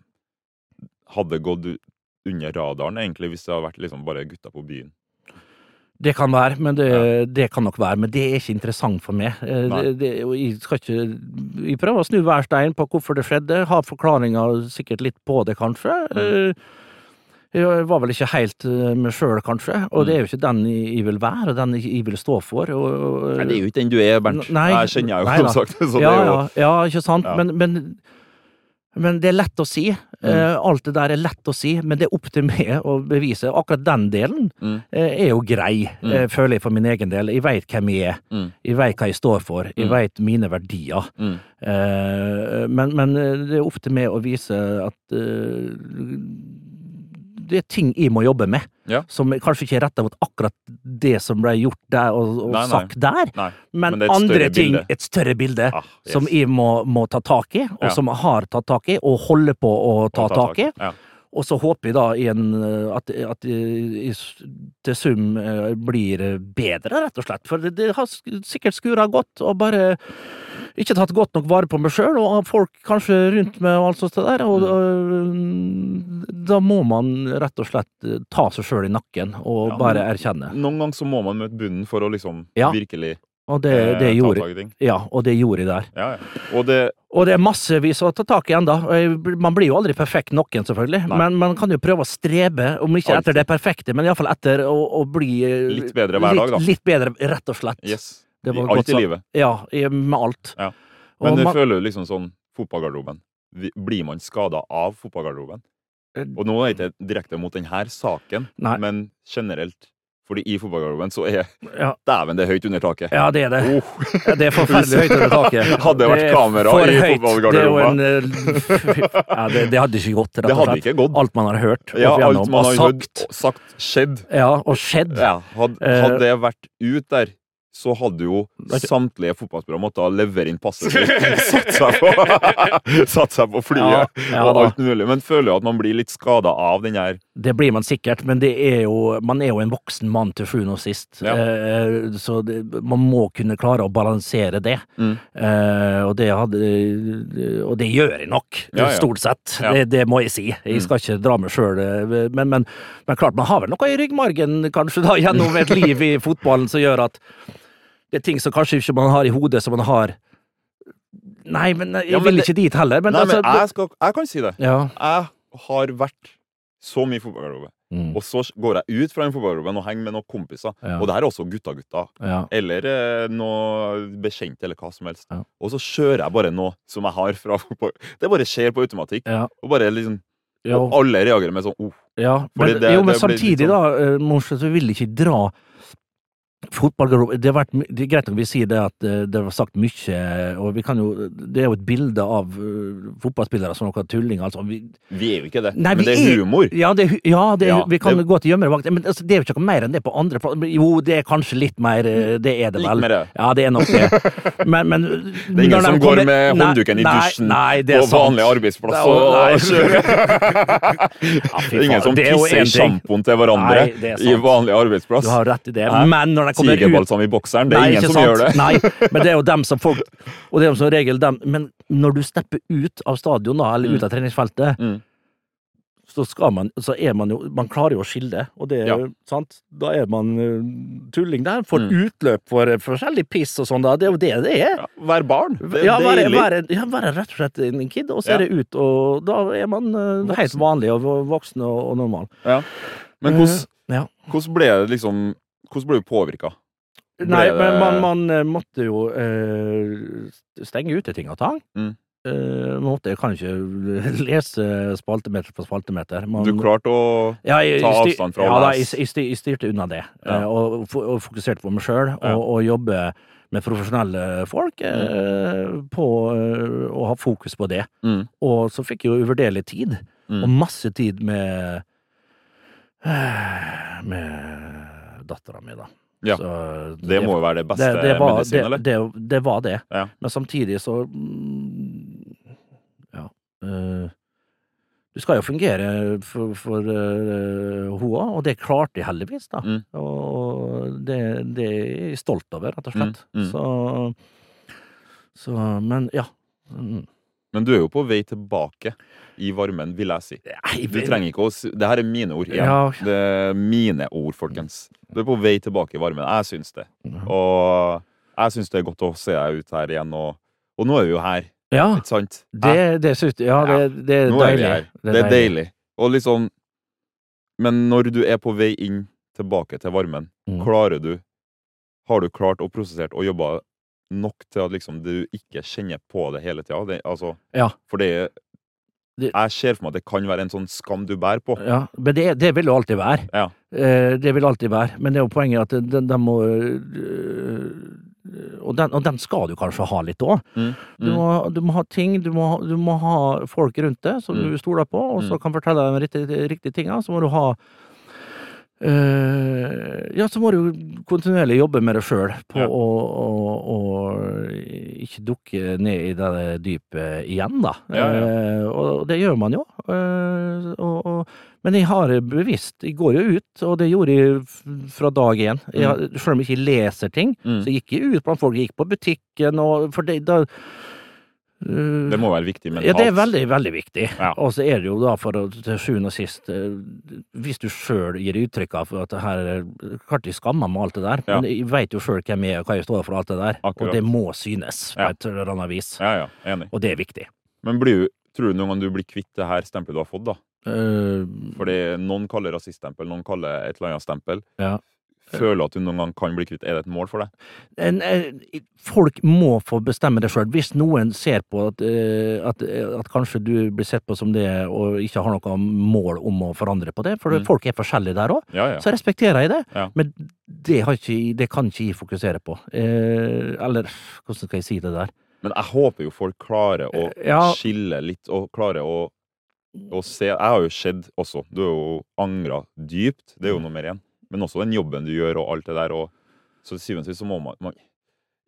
Speaker 1: hadde gått u- under radaren, egentlig, hvis det hadde vært liksom bare gutta på byen?
Speaker 2: Det kan være, men det, det kan nok være, men det er ikke interessant for meg. Eh,
Speaker 1: Nei.
Speaker 2: Det, det, og jeg, skal ikke, jeg prøver å snu hver stein på hvorfor det skjedde, har forklaringer sikkert litt på det, kanskje.
Speaker 1: Mm.
Speaker 2: Eh, Jeg var vel ikke helt eh, meg sjøl, kanskje, og
Speaker 1: Mm.
Speaker 2: det er jo ikke den jeg vil være, og den jeg vil stå for. Og, og,
Speaker 1: Nei, det er jo ikke den du er, Bernt.
Speaker 2: Nei.
Speaker 1: jeg kjenner jeg jo,
Speaker 2: Nei
Speaker 1: som
Speaker 2: da.
Speaker 1: sagt. Så det
Speaker 2: ja,
Speaker 1: er jo
Speaker 2: ja, ja, ikke sant,
Speaker 1: Ja.
Speaker 2: men, men Men det er lett å si.
Speaker 1: Mm.
Speaker 2: Eh, alt det der er lett å si, men det er opp til meg å bevise. Akkurat den delen
Speaker 1: Mm.
Speaker 2: eh, er jo grei, eh, føler jeg for min egen del. Jeg veit hvem jeg er.
Speaker 1: Mm.
Speaker 2: Jeg veit hva jeg står for. Jeg veit mine verdier.
Speaker 1: Mm.
Speaker 2: Eh, men, men det er opp til meg å vise at eh, det er ting jeg må jobbe med.
Speaker 1: Ja.
Speaker 2: Som kanskje ikke er retta mot akkurat det som ble gjort der og, og
Speaker 1: Nei, nei.
Speaker 2: sagt der,
Speaker 1: Nei.
Speaker 2: men,
Speaker 1: Men det er et
Speaker 2: andre
Speaker 1: større
Speaker 2: ting,
Speaker 1: bilde.
Speaker 2: et større bilde,
Speaker 1: Ah, yes.
Speaker 2: som jeg må, må ta tak i, og
Speaker 1: Ja.
Speaker 2: som jeg har tatt tak i, og holder på å ta,
Speaker 1: Og
Speaker 2: tak i.
Speaker 1: Ja.
Speaker 2: Og så håper jeg da i en, eh, at, at eh, i s- til sum eh, blir eh, bedre, rett og slett. For det, det har s- sikkert skura godt, og bare ikke tatt godt nok vare på meg sjøl, og folk kanskje rundt meg og alt sånt der. Og,
Speaker 1: Mm.
Speaker 2: og da må man rett og slett eh, ta seg sjøl i nakken og
Speaker 1: Ja, men-
Speaker 2: bare erkjenne.
Speaker 1: Noen ganger så må man møte bunnen for å liksom
Speaker 2: Ja.
Speaker 1: virkelig
Speaker 2: Og det,
Speaker 1: eh,
Speaker 2: det
Speaker 1: ta
Speaker 2: gjorde
Speaker 1: tak i ting.
Speaker 2: Ja, og det gjorde jeg der.
Speaker 1: Ja, ja. Og det
Speaker 2: Og det er massevis å ta tak i ennå. Man blir jo aldri perfekt noen, selvfølgelig,
Speaker 1: Nei.
Speaker 2: men man kan jo prøve å strebe, om ikke etter det perfekte, men iallfall etter å, å bli eh,
Speaker 1: Litt bedre hver dag, da.
Speaker 2: Litt, litt bedre, rett og slett.
Speaker 1: Yes.
Speaker 2: Det var
Speaker 1: I
Speaker 2: godt
Speaker 1: alt i
Speaker 2: sagt.
Speaker 1: livet.
Speaker 2: Ja, i- med alt.
Speaker 1: Ja.
Speaker 2: Og
Speaker 1: Men det
Speaker 2: man-
Speaker 1: føler du liksom sånn fotballgarderoben. Vi- Blir man skada av fotballgarderoben?
Speaker 2: Eh,
Speaker 1: Og nå er det ikke direkte mot denne saken,
Speaker 2: Nei.
Speaker 1: men generelt. Fordi i fotballgarderoben så er
Speaker 2: ja.
Speaker 1: Dæven, det er høyt under taket.
Speaker 2: ja, det er det.
Speaker 1: Oh.
Speaker 2: Ja, Det er forferdelig høyt under taket.
Speaker 1: Hadde det vært
Speaker 2: er
Speaker 1: kamera
Speaker 2: for
Speaker 1: i
Speaker 2: høyt.
Speaker 1: fotballgarderoben.
Speaker 2: Det, er jo en, eh, ja, det, det hadde ikke gått, rett
Speaker 1: Det
Speaker 2: og
Speaker 1: hadde
Speaker 2: slett.
Speaker 1: ikke gått.
Speaker 2: Alt man har hørt
Speaker 1: Ja,
Speaker 2: opp
Speaker 1: alt
Speaker 2: igjennom,
Speaker 1: man har
Speaker 2: og
Speaker 1: hørt,
Speaker 2: sagt,
Speaker 1: og sagt, skjedd.
Speaker 2: ja, og skjedd.
Speaker 1: Ja, hadde,
Speaker 2: Eh,
Speaker 1: hadde det vært ut der, så hadde jo samtlige fotballspillere måttet levere inn passet sitt. Satt seg på, satt seg på flyet
Speaker 2: Ja, ja
Speaker 1: og
Speaker 2: da.
Speaker 1: alt mulig. Men føler jo at man blir litt skada av den her
Speaker 2: Det blir man sikkert, men det er jo, man er jo en voksen mann til sjuende og sist.
Speaker 1: Ja.
Speaker 2: Eh, så det, man må kunne klare å balansere det.
Speaker 1: Mm.
Speaker 2: Eh, og, det hadde, og det gjør jeg nok,
Speaker 1: Ja, ja.
Speaker 2: stort sett.
Speaker 1: Ja. Mm.
Speaker 2: Det, det må jeg si. Jeg skal ikke dra meg sjøl, men, men, men klart man har vel noe i ryggmargen kanskje da, gjennom et liv i fotballen som gjør at det er ting som kanskje ikke man har i hodet, som man har Nei, men eh, jeg
Speaker 1: Ja, men
Speaker 2: vil
Speaker 1: det-
Speaker 2: ikke dit heller. Men,
Speaker 1: Nei, men
Speaker 2: altså,
Speaker 1: jeg, skal, jeg kan si det.
Speaker 2: ja.
Speaker 1: Jeg har vært så mye i fotballgarderobe,
Speaker 2: Mm.
Speaker 1: og så går jeg ut fra den fotballgarderoben og henger med noen kompiser.
Speaker 2: Ja.
Speaker 1: Og det her er også gutta-gutta.
Speaker 2: ja.
Speaker 1: Eller eh, noe bekjent, eller hva som helst.
Speaker 2: Ja.
Speaker 1: Og så kjører jeg bare noe som jeg har fra fotball. Det bare skjer på automatikk.
Speaker 2: ja.
Speaker 1: Og bare liksom
Speaker 2: Jo.
Speaker 1: Og alle reagerer med sånn oh,
Speaker 2: Ja,
Speaker 1: Fordi
Speaker 2: men,
Speaker 1: det-
Speaker 2: jo, men
Speaker 1: det blir litt sånn-
Speaker 2: samtidig da, eh, Moshe, så vil ikke dra fotballgarderoben det, har vært my- det er greit nok vi sier det at eh, det var sagt mye, og vi kan jo Det er jo et bilde av eh, fotballspillere som noen tullinger, altså. Vi,
Speaker 1: Vi er jo ikke det.
Speaker 2: Nei, vi
Speaker 1: men det er
Speaker 2: er-
Speaker 1: humor.
Speaker 2: ja, det, er hu- ja, det, er-
Speaker 1: Ja,
Speaker 2: vi kan
Speaker 1: det-
Speaker 2: gå til gjemmervakt, men altså, det er jo ikke noe mer enn det på andre pla- Jo, det er kanskje litt mer eh, Det er det
Speaker 1: Litt
Speaker 2: vel.
Speaker 1: mer, ja.
Speaker 2: Ja, det er nok det. Men, men Det
Speaker 1: Det er ingen som går med håndduken i dusjen
Speaker 2: nei, nei, det er
Speaker 1: på
Speaker 2: sant.
Speaker 1: vanlig arbeidsplass.
Speaker 2: Det er jo- nei.
Speaker 1: og
Speaker 2: Ja, fy
Speaker 1: Det er ingen
Speaker 2: faen,
Speaker 1: som
Speaker 2: det er jo
Speaker 1: pisser i
Speaker 2: en ting.
Speaker 1: sjampoen til hverandre
Speaker 2: Nei, det er
Speaker 1: i
Speaker 2: sant.
Speaker 1: vanlig arbeidsplass.
Speaker 2: Du har rett i det,
Speaker 1: Hæ?
Speaker 2: men når de kommer ut
Speaker 1: Tigerbalsam i bokseren, det er ingen som
Speaker 2: ikke sant.
Speaker 1: gjør det.
Speaker 2: Nei, men det er jo dem som folk Og det er jo som regel dem Men når du stepper ut av stadion, da, eller ut av treningsfeltet,
Speaker 1: Mm.
Speaker 2: så skal man Så er man jo Man klarer jo å skille, og det er
Speaker 1: Ja.
Speaker 2: sant? Da er man eh, tulling der. Får utløp for eh, forskjellig piss og sånn, da. Det er jo det det er.
Speaker 1: Mm. Ja, Vær barn. Det er
Speaker 2: Ja, være,
Speaker 1: deilig.
Speaker 2: være, ja, være rett og slett en kid, og så er
Speaker 1: Ja.
Speaker 2: det ut, og da er man eh, helt vanlig og og voksen og, og normal.
Speaker 1: Ja. Men hvordan,
Speaker 2: Ja.
Speaker 1: hvordan ble det liksom Hvordan ble du påvirka? Ble
Speaker 2: Nei,
Speaker 1: det-
Speaker 2: men man, man eh, måtte jo eh, stenge ute ting og tang.
Speaker 1: Mm.
Speaker 2: Eh, måtte, jeg kan ikke lese spaltemeter på spaltemeter. Man,
Speaker 1: Du klarte å
Speaker 2: Sånn. ja, jeg,
Speaker 1: ta
Speaker 2: styr-
Speaker 1: avstand fra å
Speaker 2: ja, da, jeg,
Speaker 1: lese.
Speaker 2: jeg, styr- jeg styrte unna det, eh,
Speaker 1: Ja.
Speaker 2: og, fo- og fokuserte på meg sjøl, og,
Speaker 1: Ja.
Speaker 2: og jobbe med profesjonelle folk eh, på eh, å ha fokus på det.
Speaker 1: mm.
Speaker 2: Og så fikk jeg jo uvurderlig tid,
Speaker 1: Mm.
Speaker 2: og masse tid med eh, med dattera mi, da.
Speaker 1: Ja.
Speaker 2: Så
Speaker 1: Det må jo være det beste
Speaker 2: det, det, var,
Speaker 1: medisin,
Speaker 2: det,
Speaker 1: eller?
Speaker 2: det, det var det.
Speaker 1: Ja.
Speaker 2: Men samtidig så mm, Ja. eh, du skal jo fungere for, for eh, hun òg, og det klarte jeg heldigvis, da.
Speaker 1: Mm.
Speaker 2: Og det, det er jeg stolt over, rett og slett.
Speaker 1: Mm, mm.
Speaker 2: Så, så Men, ja. Mm.
Speaker 1: Men du er jo på vei tilbake i varmen, vil jeg si. Du trenger ikke å si Det her er mine ord. igjen.
Speaker 2: Ja.
Speaker 1: Det er mine ord, folkens. Du er på vei tilbake i varmen. Jeg syns det. Og jeg syns det er godt å se deg ut her igjen. Og, og nå er vi jo her,
Speaker 2: Ja,
Speaker 1: ikke sant?
Speaker 2: det, det syns Ja, det, det er
Speaker 1: Nå er vi
Speaker 2: deilig.
Speaker 1: her. Det er deilig. Og liksom Men når du er på vei inn tilbake til varmen,
Speaker 2: Mm.
Speaker 1: klarer du Har du klart og prosessert og jobba nok til at liksom du ikke kjenner på det hele tida? Det, altså,
Speaker 2: Ja.
Speaker 1: for det er
Speaker 2: Det-
Speaker 1: Jeg ser for meg at det kan være en sånn skam du bærer på.
Speaker 2: Ja, men det, det vil det alltid være.
Speaker 1: Ja.
Speaker 2: Eh, det vil alltid være. Men det er jo poenget at den, den må øh, og, den, og den skal du kanskje ha litt òg.
Speaker 1: Mm,
Speaker 2: Du, må- du må ha ting, du må, ha- du må ha folk rundt deg som
Speaker 1: Mm.
Speaker 2: du stoler på, og som kan fortelle deg de riktige, riktige tinga. Så må du ha eh, ja, så må du kontinuerlig jobbe med det sjøl, på
Speaker 1: Ja.
Speaker 2: å, å, å ikke dukke ned i det dypet igjen, da.
Speaker 1: Ja, ja.
Speaker 2: Eh, og det gjør man jo. Eh, og, og, men jeg har bevisst Jeg går jo ut, og det gjorde jeg f- fra dag én. Jeg, har- Selv om jeg ikke leser ting,
Speaker 1: Mm.
Speaker 2: så gikk jeg ut blant folk. Jeg gikk på butikken og For det, da eh,
Speaker 1: Det må være viktig mentalt.
Speaker 2: ja, det er veldig, veldig viktig.
Speaker 1: Ja.
Speaker 2: Og så er det jo da, for å, til sjuende og sist eh, Hvis du sjøl gir uttrykk av at det her er- Klart de skammer meg og alt det der,
Speaker 1: Ja.
Speaker 2: men jeg veit jo sjøl hvem jeg er og hva jeg står for og alt det der.
Speaker 1: Akkurat.
Speaker 2: Og det må synes på
Speaker 1: Ja.
Speaker 2: et eller annet vis.
Speaker 1: Ja, ja, enig.
Speaker 2: Og det er viktig.
Speaker 1: Men blir, du- tror du noen gang du blir kvitt det her stempelet du har fått, da?
Speaker 2: Eh,
Speaker 1: Fordi noen kaller rasiststempel, noen kaller et eller annet stempel.
Speaker 2: Ja.
Speaker 1: Føler du at du noen gang kan bli kvitt Er det et mål for deg?
Speaker 2: en, en, folk må få bestemme det sjøl. Hvis noen ser på at, eh, at, at kanskje du blir sett på som det og ikke har noe mål om å forandre på det, for
Speaker 1: Mm.
Speaker 2: folk er forskjellige der òg,
Speaker 1: Ja, ja.
Speaker 2: så respekterer jeg det.
Speaker 1: Ja.
Speaker 2: Men det, har ikke, jeg- det kan ikke jeg fokusere på. Eh, eller hvordan skal jeg si det der?
Speaker 1: Men jeg håper jo folk klarer å
Speaker 2: Eh, Ja. Mm.
Speaker 1: skille litt, og klarer å, å se Jeg har jo sett også Du har jo angra dypt, det er
Speaker 2: Mm.
Speaker 1: jo nummer én. Men også den jobben du gjør, og alt det der. Og så til syvende og sist så må man, man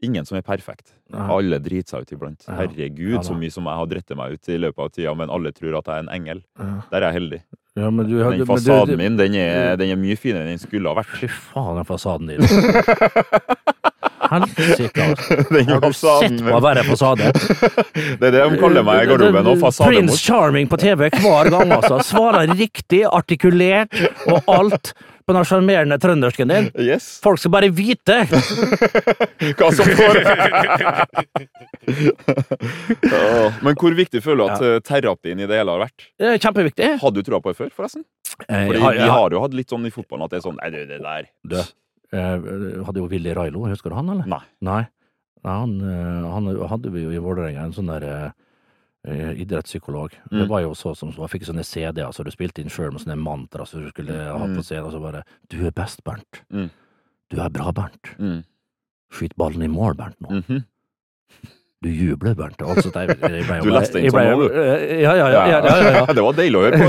Speaker 1: Ingen som er perfekt.
Speaker 2: Nei.
Speaker 1: Alle driter seg ut iblant.
Speaker 2: Ja.
Speaker 1: Herregud,
Speaker 2: Ja da.
Speaker 1: så mye som jeg har dritt meg ut i løpet av tida, men alle tror at jeg er en engel.
Speaker 2: Ja.
Speaker 1: Der er jeg heldig.
Speaker 2: Ja, men du,
Speaker 1: Den fasaden min, den er, den er mye finere enn den skulle ha vært.
Speaker 2: Fy faen, den fasaden din. Helsike, altså.
Speaker 1: Den
Speaker 2: Har du
Speaker 1: fasaden
Speaker 2: sett
Speaker 1: min.
Speaker 2: på å være fasade?
Speaker 1: Det er det de kaller meg i garderoben nå.
Speaker 2: Prince
Speaker 1: Fasademor.
Speaker 2: Charming på TV hver gang, altså. Svarer riktig, artikulert og alt på den sjarmerende trøndersken din.
Speaker 1: Yes.
Speaker 2: Folk skal bare vite!
Speaker 1: hva som foregår. Ja, Men hvor viktig føler du at eh, terapien i det hele har vært?
Speaker 2: Det er kjempeviktig.
Speaker 1: Hadde du trua på det før, forresten?
Speaker 2: Eh,
Speaker 1: Fordi
Speaker 2: ja,
Speaker 1: vi
Speaker 2: ja.
Speaker 1: har jo hatt litt sånn i fotballen at det er sånn Nei, du, det der
Speaker 2: Du, eh, hadde jo Willy Railo, husker du han, eller?
Speaker 1: Nei.
Speaker 2: Nei. Nei, han, eh, han hadde vi jo i Vålerenga, en sånn der eh, idrettspsykolog.
Speaker 1: Mm.
Speaker 2: Det var jo så som så, jeg fikk sånne CD-er som du spilte inn sjøl med sånne mantra som du skulle ha på scenen, og så bare Du er best, Bernt.
Speaker 1: Mm.
Speaker 2: Du er bra, Bernt.
Speaker 1: Mm.
Speaker 2: Skyt ballen i mål, Bernt, nå.
Speaker 1: Mhm.
Speaker 2: Du jubler, Bernt. Altså, det, jeg, jeg ble jo
Speaker 1: Du
Speaker 2: bare-
Speaker 1: leste inn
Speaker 2: jeg ble
Speaker 1: sånn
Speaker 2: jo-
Speaker 1: nå, du.
Speaker 2: eh, Ja, ja, ja. ja, ja, ja, ja.
Speaker 1: det var deilig å høre på.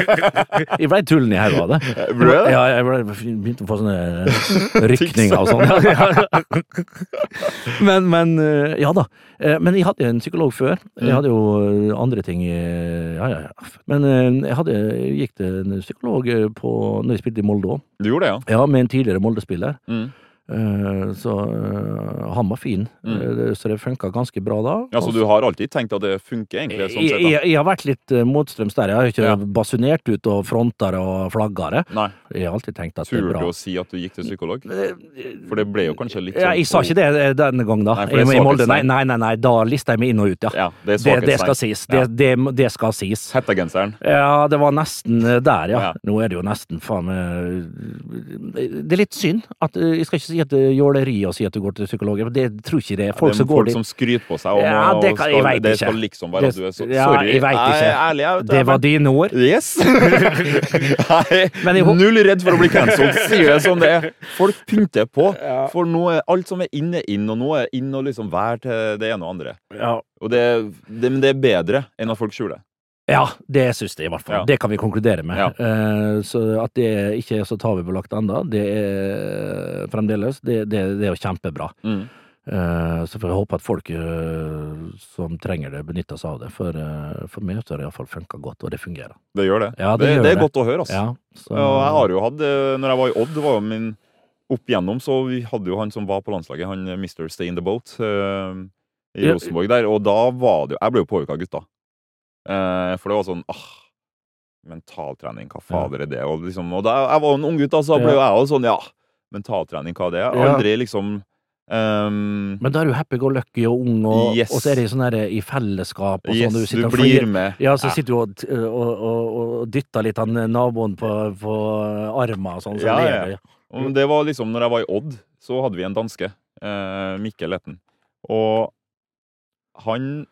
Speaker 2: Jeg ble tullen i hodet av det.
Speaker 1: Ble du det?
Speaker 2: Ja, jeg ble, begynte å få sånne rykninger og sånn. Ja, ja. Men, men eh, Ja da. Eh, Men jeg hadde en psykolog før.
Speaker 1: Mm.
Speaker 2: Jeg hadde jo eh, andre ting eh, Ja, ja, ja. Men eh, jeg hadde, jeg gikk til en psykolog eh, på, når jeg spilte i Molde òg.
Speaker 1: Du gjorde det, ja?
Speaker 2: Ja, med en tidligere Molde-spiller.
Speaker 1: Mm.
Speaker 2: Eh, Så eh, han var fin. Eh, det- Så det funka ganske bra da.
Speaker 1: Mm. ja? Så du har alltid tenkt at det funker, egentlig? Sånn
Speaker 2: Jeg,
Speaker 1: sett, da.
Speaker 2: jeg, jeg har vært litt eh, motstrøms der. Jeg har ikke
Speaker 1: Ja.
Speaker 2: basunert ut og frontere og flaggere.
Speaker 1: Nei.
Speaker 2: Jeg har alltid tenkt at det er
Speaker 1: Turte
Speaker 2: bra.
Speaker 1: du å si at du gikk til psykolog? For det ble jo kanskje litt sånn
Speaker 2: Ja, jeg sa ikke det eh, denne gangen, da.
Speaker 1: Nei, for det er
Speaker 2: I i Molde, nei,
Speaker 1: svakhetstegn.
Speaker 2: nei, nei, nei, da lista jeg meg inn og ut, ja.
Speaker 1: Ja, det er
Speaker 2: Det, det skal
Speaker 1: svakhetstegn.
Speaker 2: sies. Det,
Speaker 1: Ja.
Speaker 2: det, det skal sies.
Speaker 1: Hettegenseren.
Speaker 2: Ja, det var nesten eh, der, ja.
Speaker 1: Ja.
Speaker 2: Nå er det jo nesten faen meg Det er litt synd. At, eh, jeg skal ikke si at det er jåleri å si at du går til psykolog. for Det tror ikke det. Folk
Speaker 1: det er
Speaker 2: som går
Speaker 1: folk
Speaker 2: dit
Speaker 1: som skryter på seg om
Speaker 2: Ja,
Speaker 1: og
Speaker 2: det kan- jeg
Speaker 1: skal-
Speaker 2: vet
Speaker 1: det
Speaker 2: ikke.
Speaker 1: skal liksom være at du er så
Speaker 2: Ja,
Speaker 1: Sorry,
Speaker 2: jeg vet
Speaker 1: jeg er
Speaker 2: ikke.
Speaker 1: ærlig. Jeg, vet
Speaker 2: Det
Speaker 1: jeg,
Speaker 2: var dine ord.
Speaker 1: Yes! Nei,
Speaker 2: Men jeg hå-
Speaker 1: null redd for å bli cancelled, sier det som det er. Folk pynter på, for nå er alt som er inne, inn, og nå er inn og liksom vær til det ene og andre.
Speaker 2: Ja.
Speaker 1: Og det, det, men det er bedre enn at folk skjuler.
Speaker 2: Ja, det syns jeg i hvert fall.
Speaker 1: Ja.
Speaker 2: Det kan vi konkludere med.
Speaker 1: Ja.
Speaker 2: Eh, så at det ikke er så tabubelagt ennå, det er fremdeles Det, det, det er jo kjempebra.
Speaker 1: Mm.
Speaker 2: Eh, så får jeg håpe at folk eh, som trenger det, benytter seg av det. For, eh, for meg så har det iallfall funka godt, og det fungerer.
Speaker 1: Det gjør det.
Speaker 2: Ja, det
Speaker 1: det,
Speaker 2: gjør
Speaker 1: er
Speaker 2: det.
Speaker 1: godt å høre, altså.
Speaker 2: Ja, så,
Speaker 1: Ja, og jeg har jo hatt eh, Når jeg var i Odd, det var jo min opp igjennom, så vi hadde jo han som var på landslaget, han eh, Mr. Stay in the Boat, eh, i
Speaker 2: Ja.
Speaker 1: Rosenborg der, og da var det jo Jeg ble jo påvirka av gutta. Eh, for det var sånn ah, Mentaltrening, hva fader er det? Og, liksom, og da jeg var en ung gutt, da, så ble jo jeg også sånn Ja, mentaltrening, hva det er?
Speaker 2: Ja.
Speaker 1: Aldri liksom ehm,
Speaker 2: Men da er du happy go lucky og ung, og,
Speaker 1: Yes.
Speaker 2: og så er det sånn her i fellesskap og
Speaker 1: Yes,
Speaker 2: sånn.
Speaker 1: du
Speaker 2: og
Speaker 1: blir
Speaker 2: flirer.
Speaker 1: med.
Speaker 2: Ja, så sitter du og, t- og, og, og dytter litt han naboen på, på armen og sånn. Så
Speaker 1: Ja,
Speaker 2: ler
Speaker 1: ja.
Speaker 2: du.
Speaker 1: Og det var liksom, når jeg var i Odd, så hadde vi en danske, eh, Mikkel Letten. Og han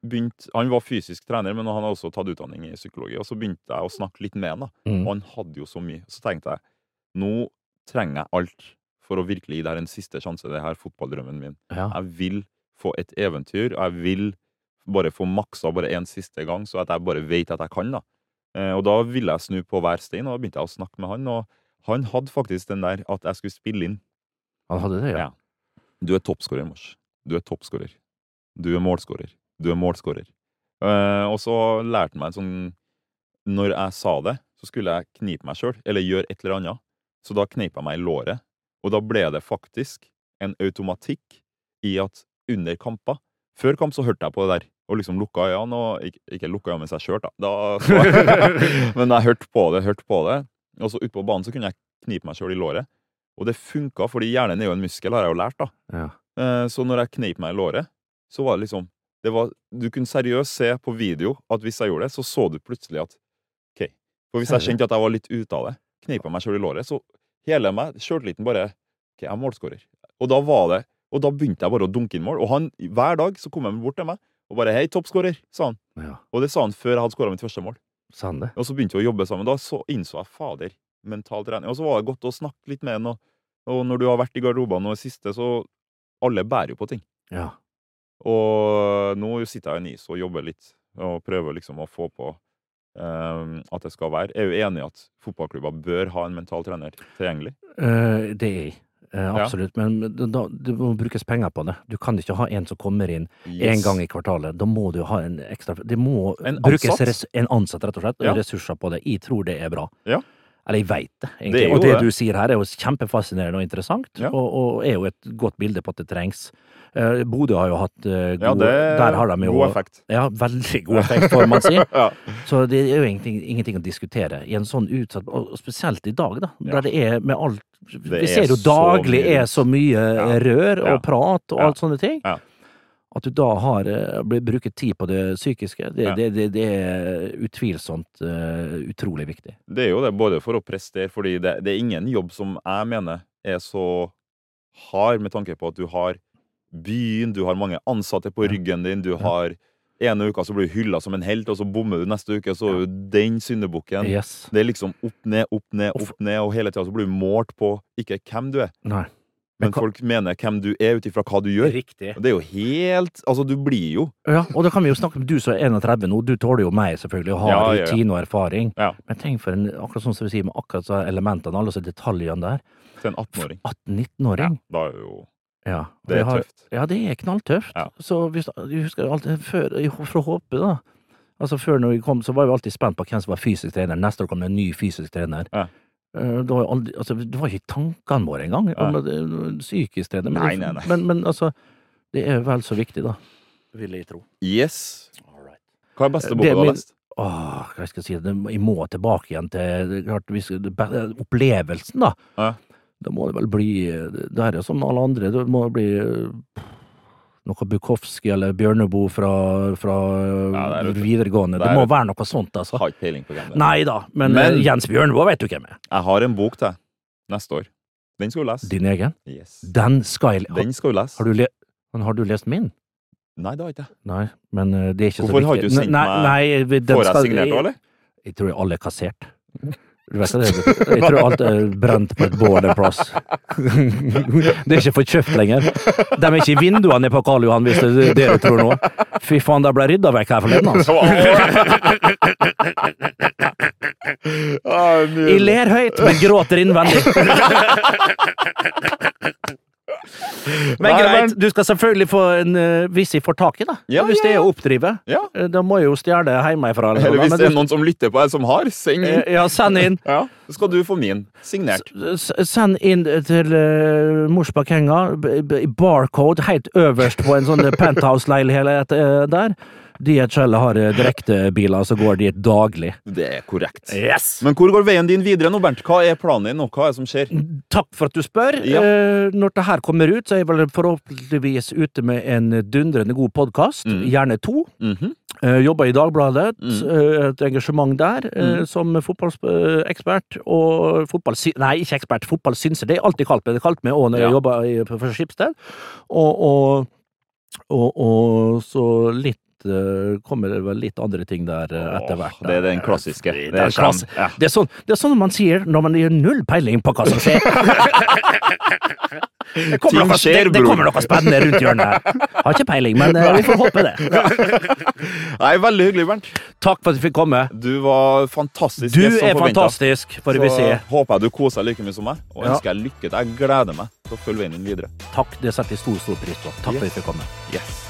Speaker 1: begynte, han var fysisk trener, men han har også tatt utdanning i psykologi. Og så begynte jeg å snakke litt med han. da.
Speaker 2: Mm.
Speaker 1: Og han hadde jo så mye. Så tenkte jeg nå trenger jeg alt for å virkelig gi det her en siste sjanse, det her fotballdrømmen min.
Speaker 2: Ja.
Speaker 1: Jeg vil få et eventyr, og jeg vil bare få maksa bare en siste gang, så at jeg bare vet at jeg kan, da. Eh, Og da ville jeg snu på hver stein, og da begynte jeg å snakke med han, og han hadde faktisk den der at jeg skulle spille inn.
Speaker 2: Han hadde det, ja.
Speaker 1: Ja. Du er toppskårer, Mors. Du er toppskårer. Du er målskårer. Du er målskårer. Eh, og så lærte han meg en sånn Når jeg sa det, så skulle jeg knipe meg sjøl, eller gjøre et eller annet. Så da kneip jeg meg i låret. Og da ble det faktisk en automatikk i at under kamper Før kamp så hørte jeg på det der, og liksom lukka øynene, og ikke, ikke lukka øynene mens jeg kjørte, da. da så jeg. Men jeg hørte på det, hørte på det. Og så ute på Altså, banen så kunne jeg knipe meg sjøl i låret. Og det funka, fordi hjernen er jo en muskel, har jeg jo lært, da.
Speaker 2: Ja.
Speaker 1: Eh, Så når jeg kneip meg i låret, så var det liksom det var, Du kunne seriøst se på video at hvis jeg gjorde det, så så du plutselig at OK. For hvis jeg kjente at jeg var litt ute av det, kneip jeg meg sjøl i låret, så hele meg, sjøltilliten bare OK, jeg er målskårer. Og da var det Og da begynte jeg bare å dunke inn mål. Og han, hver dag så kom han bort til meg og bare 'Hei, toppskårer', sa han.
Speaker 2: ja.
Speaker 1: Og det sa han før jeg hadde skåra mitt første mål.
Speaker 2: Sa han det?
Speaker 1: Og så begynte vi å jobbe sammen. Da så innså jeg fader, mental trening. Og så var det godt å snakke litt med han. Og, og når du har vært i garderobene og i siste, så Alle bærer jo på ting.
Speaker 2: Ja.
Speaker 1: Og nå sitter jeg i NIS og jobber litt, og prøver liksom å få på eh, at det skal være. Jeg er jo enig i at fotballklubber bør ha en mental trener tilgjengelig.
Speaker 2: Eh, det er jeg. Eh, absolutt. Men da, da, det må brukes penger på det. Du kan ikke ha en som kommer inn én gang i kvartalet. Da må du ha en ekstra Det må
Speaker 1: En
Speaker 2: brukes
Speaker 1: ansatt?
Speaker 2: res, en ansatt, rett og slett,
Speaker 1: Ja.
Speaker 2: ressurser på det. Jeg tror det er bra.
Speaker 1: Ja.
Speaker 2: Eller jeg veit det, egentlig.
Speaker 1: Det er jo
Speaker 2: og det,
Speaker 1: det.
Speaker 2: du sier her, er jo kjempefascinerende og interessant,
Speaker 1: Ja.
Speaker 2: og, og er jo et godt bilde på at det trengs. Eh, Bodø har jo hatt eh,
Speaker 1: Ja,
Speaker 2: god
Speaker 1: det
Speaker 2: Der har de jo
Speaker 1: god effekt.
Speaker 2: Ja, veldig god effekt, får man si.
Speaker 1: Ja.
Speaker 2: Så det er jo egentlig ingenting å diskutere i en sånn utsatt Og spesielt i dag, da, der det er med alt Vi
Speaker 1: er
Speaker 2: ser jo
Speaker 1: så
Speaker 2: daglig
Speaker 1: mye
Speaker 2: er så mye
Speaker 1: Ja.
Speaker 2: rør og
Speaker 1: Ja.
Speaker 2: prat og
Speaker 1: Ja.
Speaker 2: alt sånne ting.
Speaker 1: Ja.
Speaker 2: At du da har eh, blir- bruker tid på det psykiske, det,
Speaker 1: Ja.
Speaker 2: det, det, det er utvilsomt eh, utrolig viktig.
Speaker 1: Det er jo det, både for å prestere, fordi det, det er ingen jobb som jeg mener er så hard, med tanke på at du har byen, du har mange ansatte på ryggen din, du har ene uka så blir du hylla som en helt, og så bommer du neste uke, så er du den syndebukken.
Speaker 2: Yes.
Speaker 1: Det er liksom opp ned, opp ned,
Speaker 2: Og f-
Speaker 1: opp ned, og hele tida så blir du målt på ikke hvem du er,
Speaker 2: Nei.
Speaker 1: men
Speaker 2: hva-
Speaker 1: folk mener hvem du er ut ifra hva du gjør.
Speaker 3: Riktig.
Speaker 1: Og det er jo helt Altså, du blir jo
Speaker 2: Ja, og da kan vi jo snakke om du som er 31 nå, du tåler jo meg selvfølgelig, og har
Speaker 1: Ja, ja, ja.
Speaker 2: rutin og erfaring.
Speaker 1: Ja.
Speaker 2: Men tenk for en, akkurat sånn som vi sier, med akkurat så elementene, alle disse detaljene der.
Speaker 1: til en 18-åring.
Speaker 2: 18-19-åring.
Speaker 1: Da er jo
Speaker 2: Ja, og
Speaker 1: Det
Speaker 2: jeg
Speaker 1: er
Speaker 2: har-
Speaker 1: tøft.
Speaker 2: Ja, det er knalltøft.
Speaker 1: Ja.
Speaker 2: Så hvis, jeg husker alt før, i- fra HP, da. Altså Før når jeg kom, så var jeg jo alltid spent på hvem som var fysisk trener. Neste år kom det en ny fysisk trener.
Speaker 1: Ja.
Speaker 2: Eh, Det var, jo aldri, altså, det var ikke i tankene våre engang. om at, eh, Psykisk trener. Men,
Speaker 1: Nei, nei, nei.
Speaker 2: Men, men altså, det er vel så viktig, da.
Speaker 3: Vil jeg tro.
Speaker 1: Yes!
Speaker 3: All right.
Speaker 1: Hva er beste
Speaker 2: Det er
Speaker 1: boka du har
Speaker 2: min-
Speaker 1: lest?
Speaker 2: Åh, hva skal jeg si, det, jeg må tilbake igjen til det, er klart, hvis, det, be- opplevelsen, da.
Speaker 1: Ja.
Speaker 2: Da må det vel bli Det her er jo som alle andre, det må bli eh, noe Bukowski eller Bjørneboe fra, fra
Speaker 1: Ja, det er jo-
Speaker 2: videregående.
Speaker 1: det
Speaker 2: Det,
Speaker 1: er
Speaker 2: må
Speaker 1: jo-
Speaker 2: være noe sånt, altså.
Speaker 1: Har ikke peiling på hvem det er.
Speaker 2: Nei da, men,
Speaker 1: Men-
Speaker 2: eh, Jens Bjørneboe vet du hvem er.
Speaker 1: Jeg har en bok til neste år. Den skal du lese.
Speaker 2: Din egen?
Speaker 1: Yes.
Speaker 2: Den skal jeg
Speaker 1: Den
Speaker 2: har,
Speaker 1: skal du lese.
Speaker 2: har, du le, men har du lest min?
Speaker 1: Nei, det har jeg ikke.
Speaker 2: Nei, men eh, det er ikke
Speaker 1: Hvorfor
Speaker 2: så viktig.
Speaker 1: har ikke du sendt
Speaker 2: nei,
Speaker 1: meg-
Speaker 2: nei, vi- den
Speaker 1: Får jeg
Speaker 2: skal-
Speaker 1: signert òg, eller?
Speaker 2: Jeg tror alle er kassert.
Speaker 1: Mhm.
Speaker 2: Du vet det? Jeg tror alt er brent på et bål en plass. Det er ikke for kjøpt lenger. De er ikke i vinduene på Karl Johan, hvis det er det du tror nå. Fy faen, de ble rydda vekk her forleden, altså.
Speaker 1: Ah, nydelig.
Speaker 2: Jeg ler høyt, men gråter innvendig. Men
Speaker 1: Nei,
Speaker 2: greit, du skal selvfølgelig få en eh, Hvis jeg får tak i det.
Speaker 1: Ja,
Speaker 2: Hvis det
Speaker 1: ja,
Speaker 2: er
Speaker 1: ja.
Speaker 2: å oppdrive.
Speaker 1: Ja.
Speaker 2: Eh, Da må jeg jo stjele hjemmefra. eller noe,
Speaker 1: Eller hvis
Speaker 2: men
Speaker 1: det er
Speaker 2: du- Eh,
Speaker 1: noen som lytter på her, som har, send inn.
Speaker 2: Ja, send inn.
Speaker 1: Ja, så skal du få min signert.
Speaker 2: S- Send inn til uh, morsbakenga b- b- barcode helt øverst på en sånn penthouse-leilighet eh, der. DHL har eh, direktebiler som går dit daglig.
Speaker 1: Det er korrekt.
Speaker 3: Yes!
Speaker 1: Men hvor går veien din videre nå, Bernt? Hva er planen din, og hva er det som skjer?
Speaker 2: Takk for at du spør.
Speaker 1: Ja.
Speaker 2: Eh, når det her kommer ut, så er jeg vel forhåpentligvis ute med en dundrende god podkast. Gjerne to.
Speaker 1: Mm. Mhm. Mm.
Speaker 2: Eh, jobber i Dagbladet. eh, et engasjement der eh, som fotballekspert og fotballsy... Nei, ikke ekspert, fotballsynser. Det er alltid kalt meg. Det er kalt meg òg når jeg
Speaker 1: Ja.
Speaker 2: jobber i, for Skipsted. Og, og, og, og så litt litt eh, Kommer det vel litt andre ting der eh, etter hvert.
Speaker 1: Åh, Det er den klassiske.
Speaker 2: Det
Speaker 1: Det
Speaker 2: er,
Speaker 1: er
Speaker 2: klass-
Speaker 1: sånn, ja.
Speaker 2: det, er sånn, det er sånn man sier når man gir null peiling på hva som skjer. Det
Speaker 1: Ting
Speaker 2: kommer, noe,
Speaker 1: skjer,
Speaker 2: det, det kommer
Speaker 1: bror.
Speaker 2: noe spennende rundt hjørnet her. Har ikke peiling, men eh, vi får håpe det.
Speaker 1: Nei, veldig hyggelig, Bernt.
Speaker 2: Takk for at du fikk komme.
Speaker 1: Du var fantastisk.
Speaker 2: Du
Speaker 1: gjest som
Speaker 2: er
Speaker 1: forventet.
Speaker 2: fantastisk, får vi
Speaker 1: Så
Speaker 2: si.
Speaker 1: håper jeg du koser deg like mye som meg, og
Speaker 2: Ja.
Speaker 1: ønsker deg lykke til. Jeg gleder meg til å følge veien din videre.
Speaker 2: Takk, det setter jeg stor, stor pris på. Takk for at du fikk komme.
Speaker 1: Yes.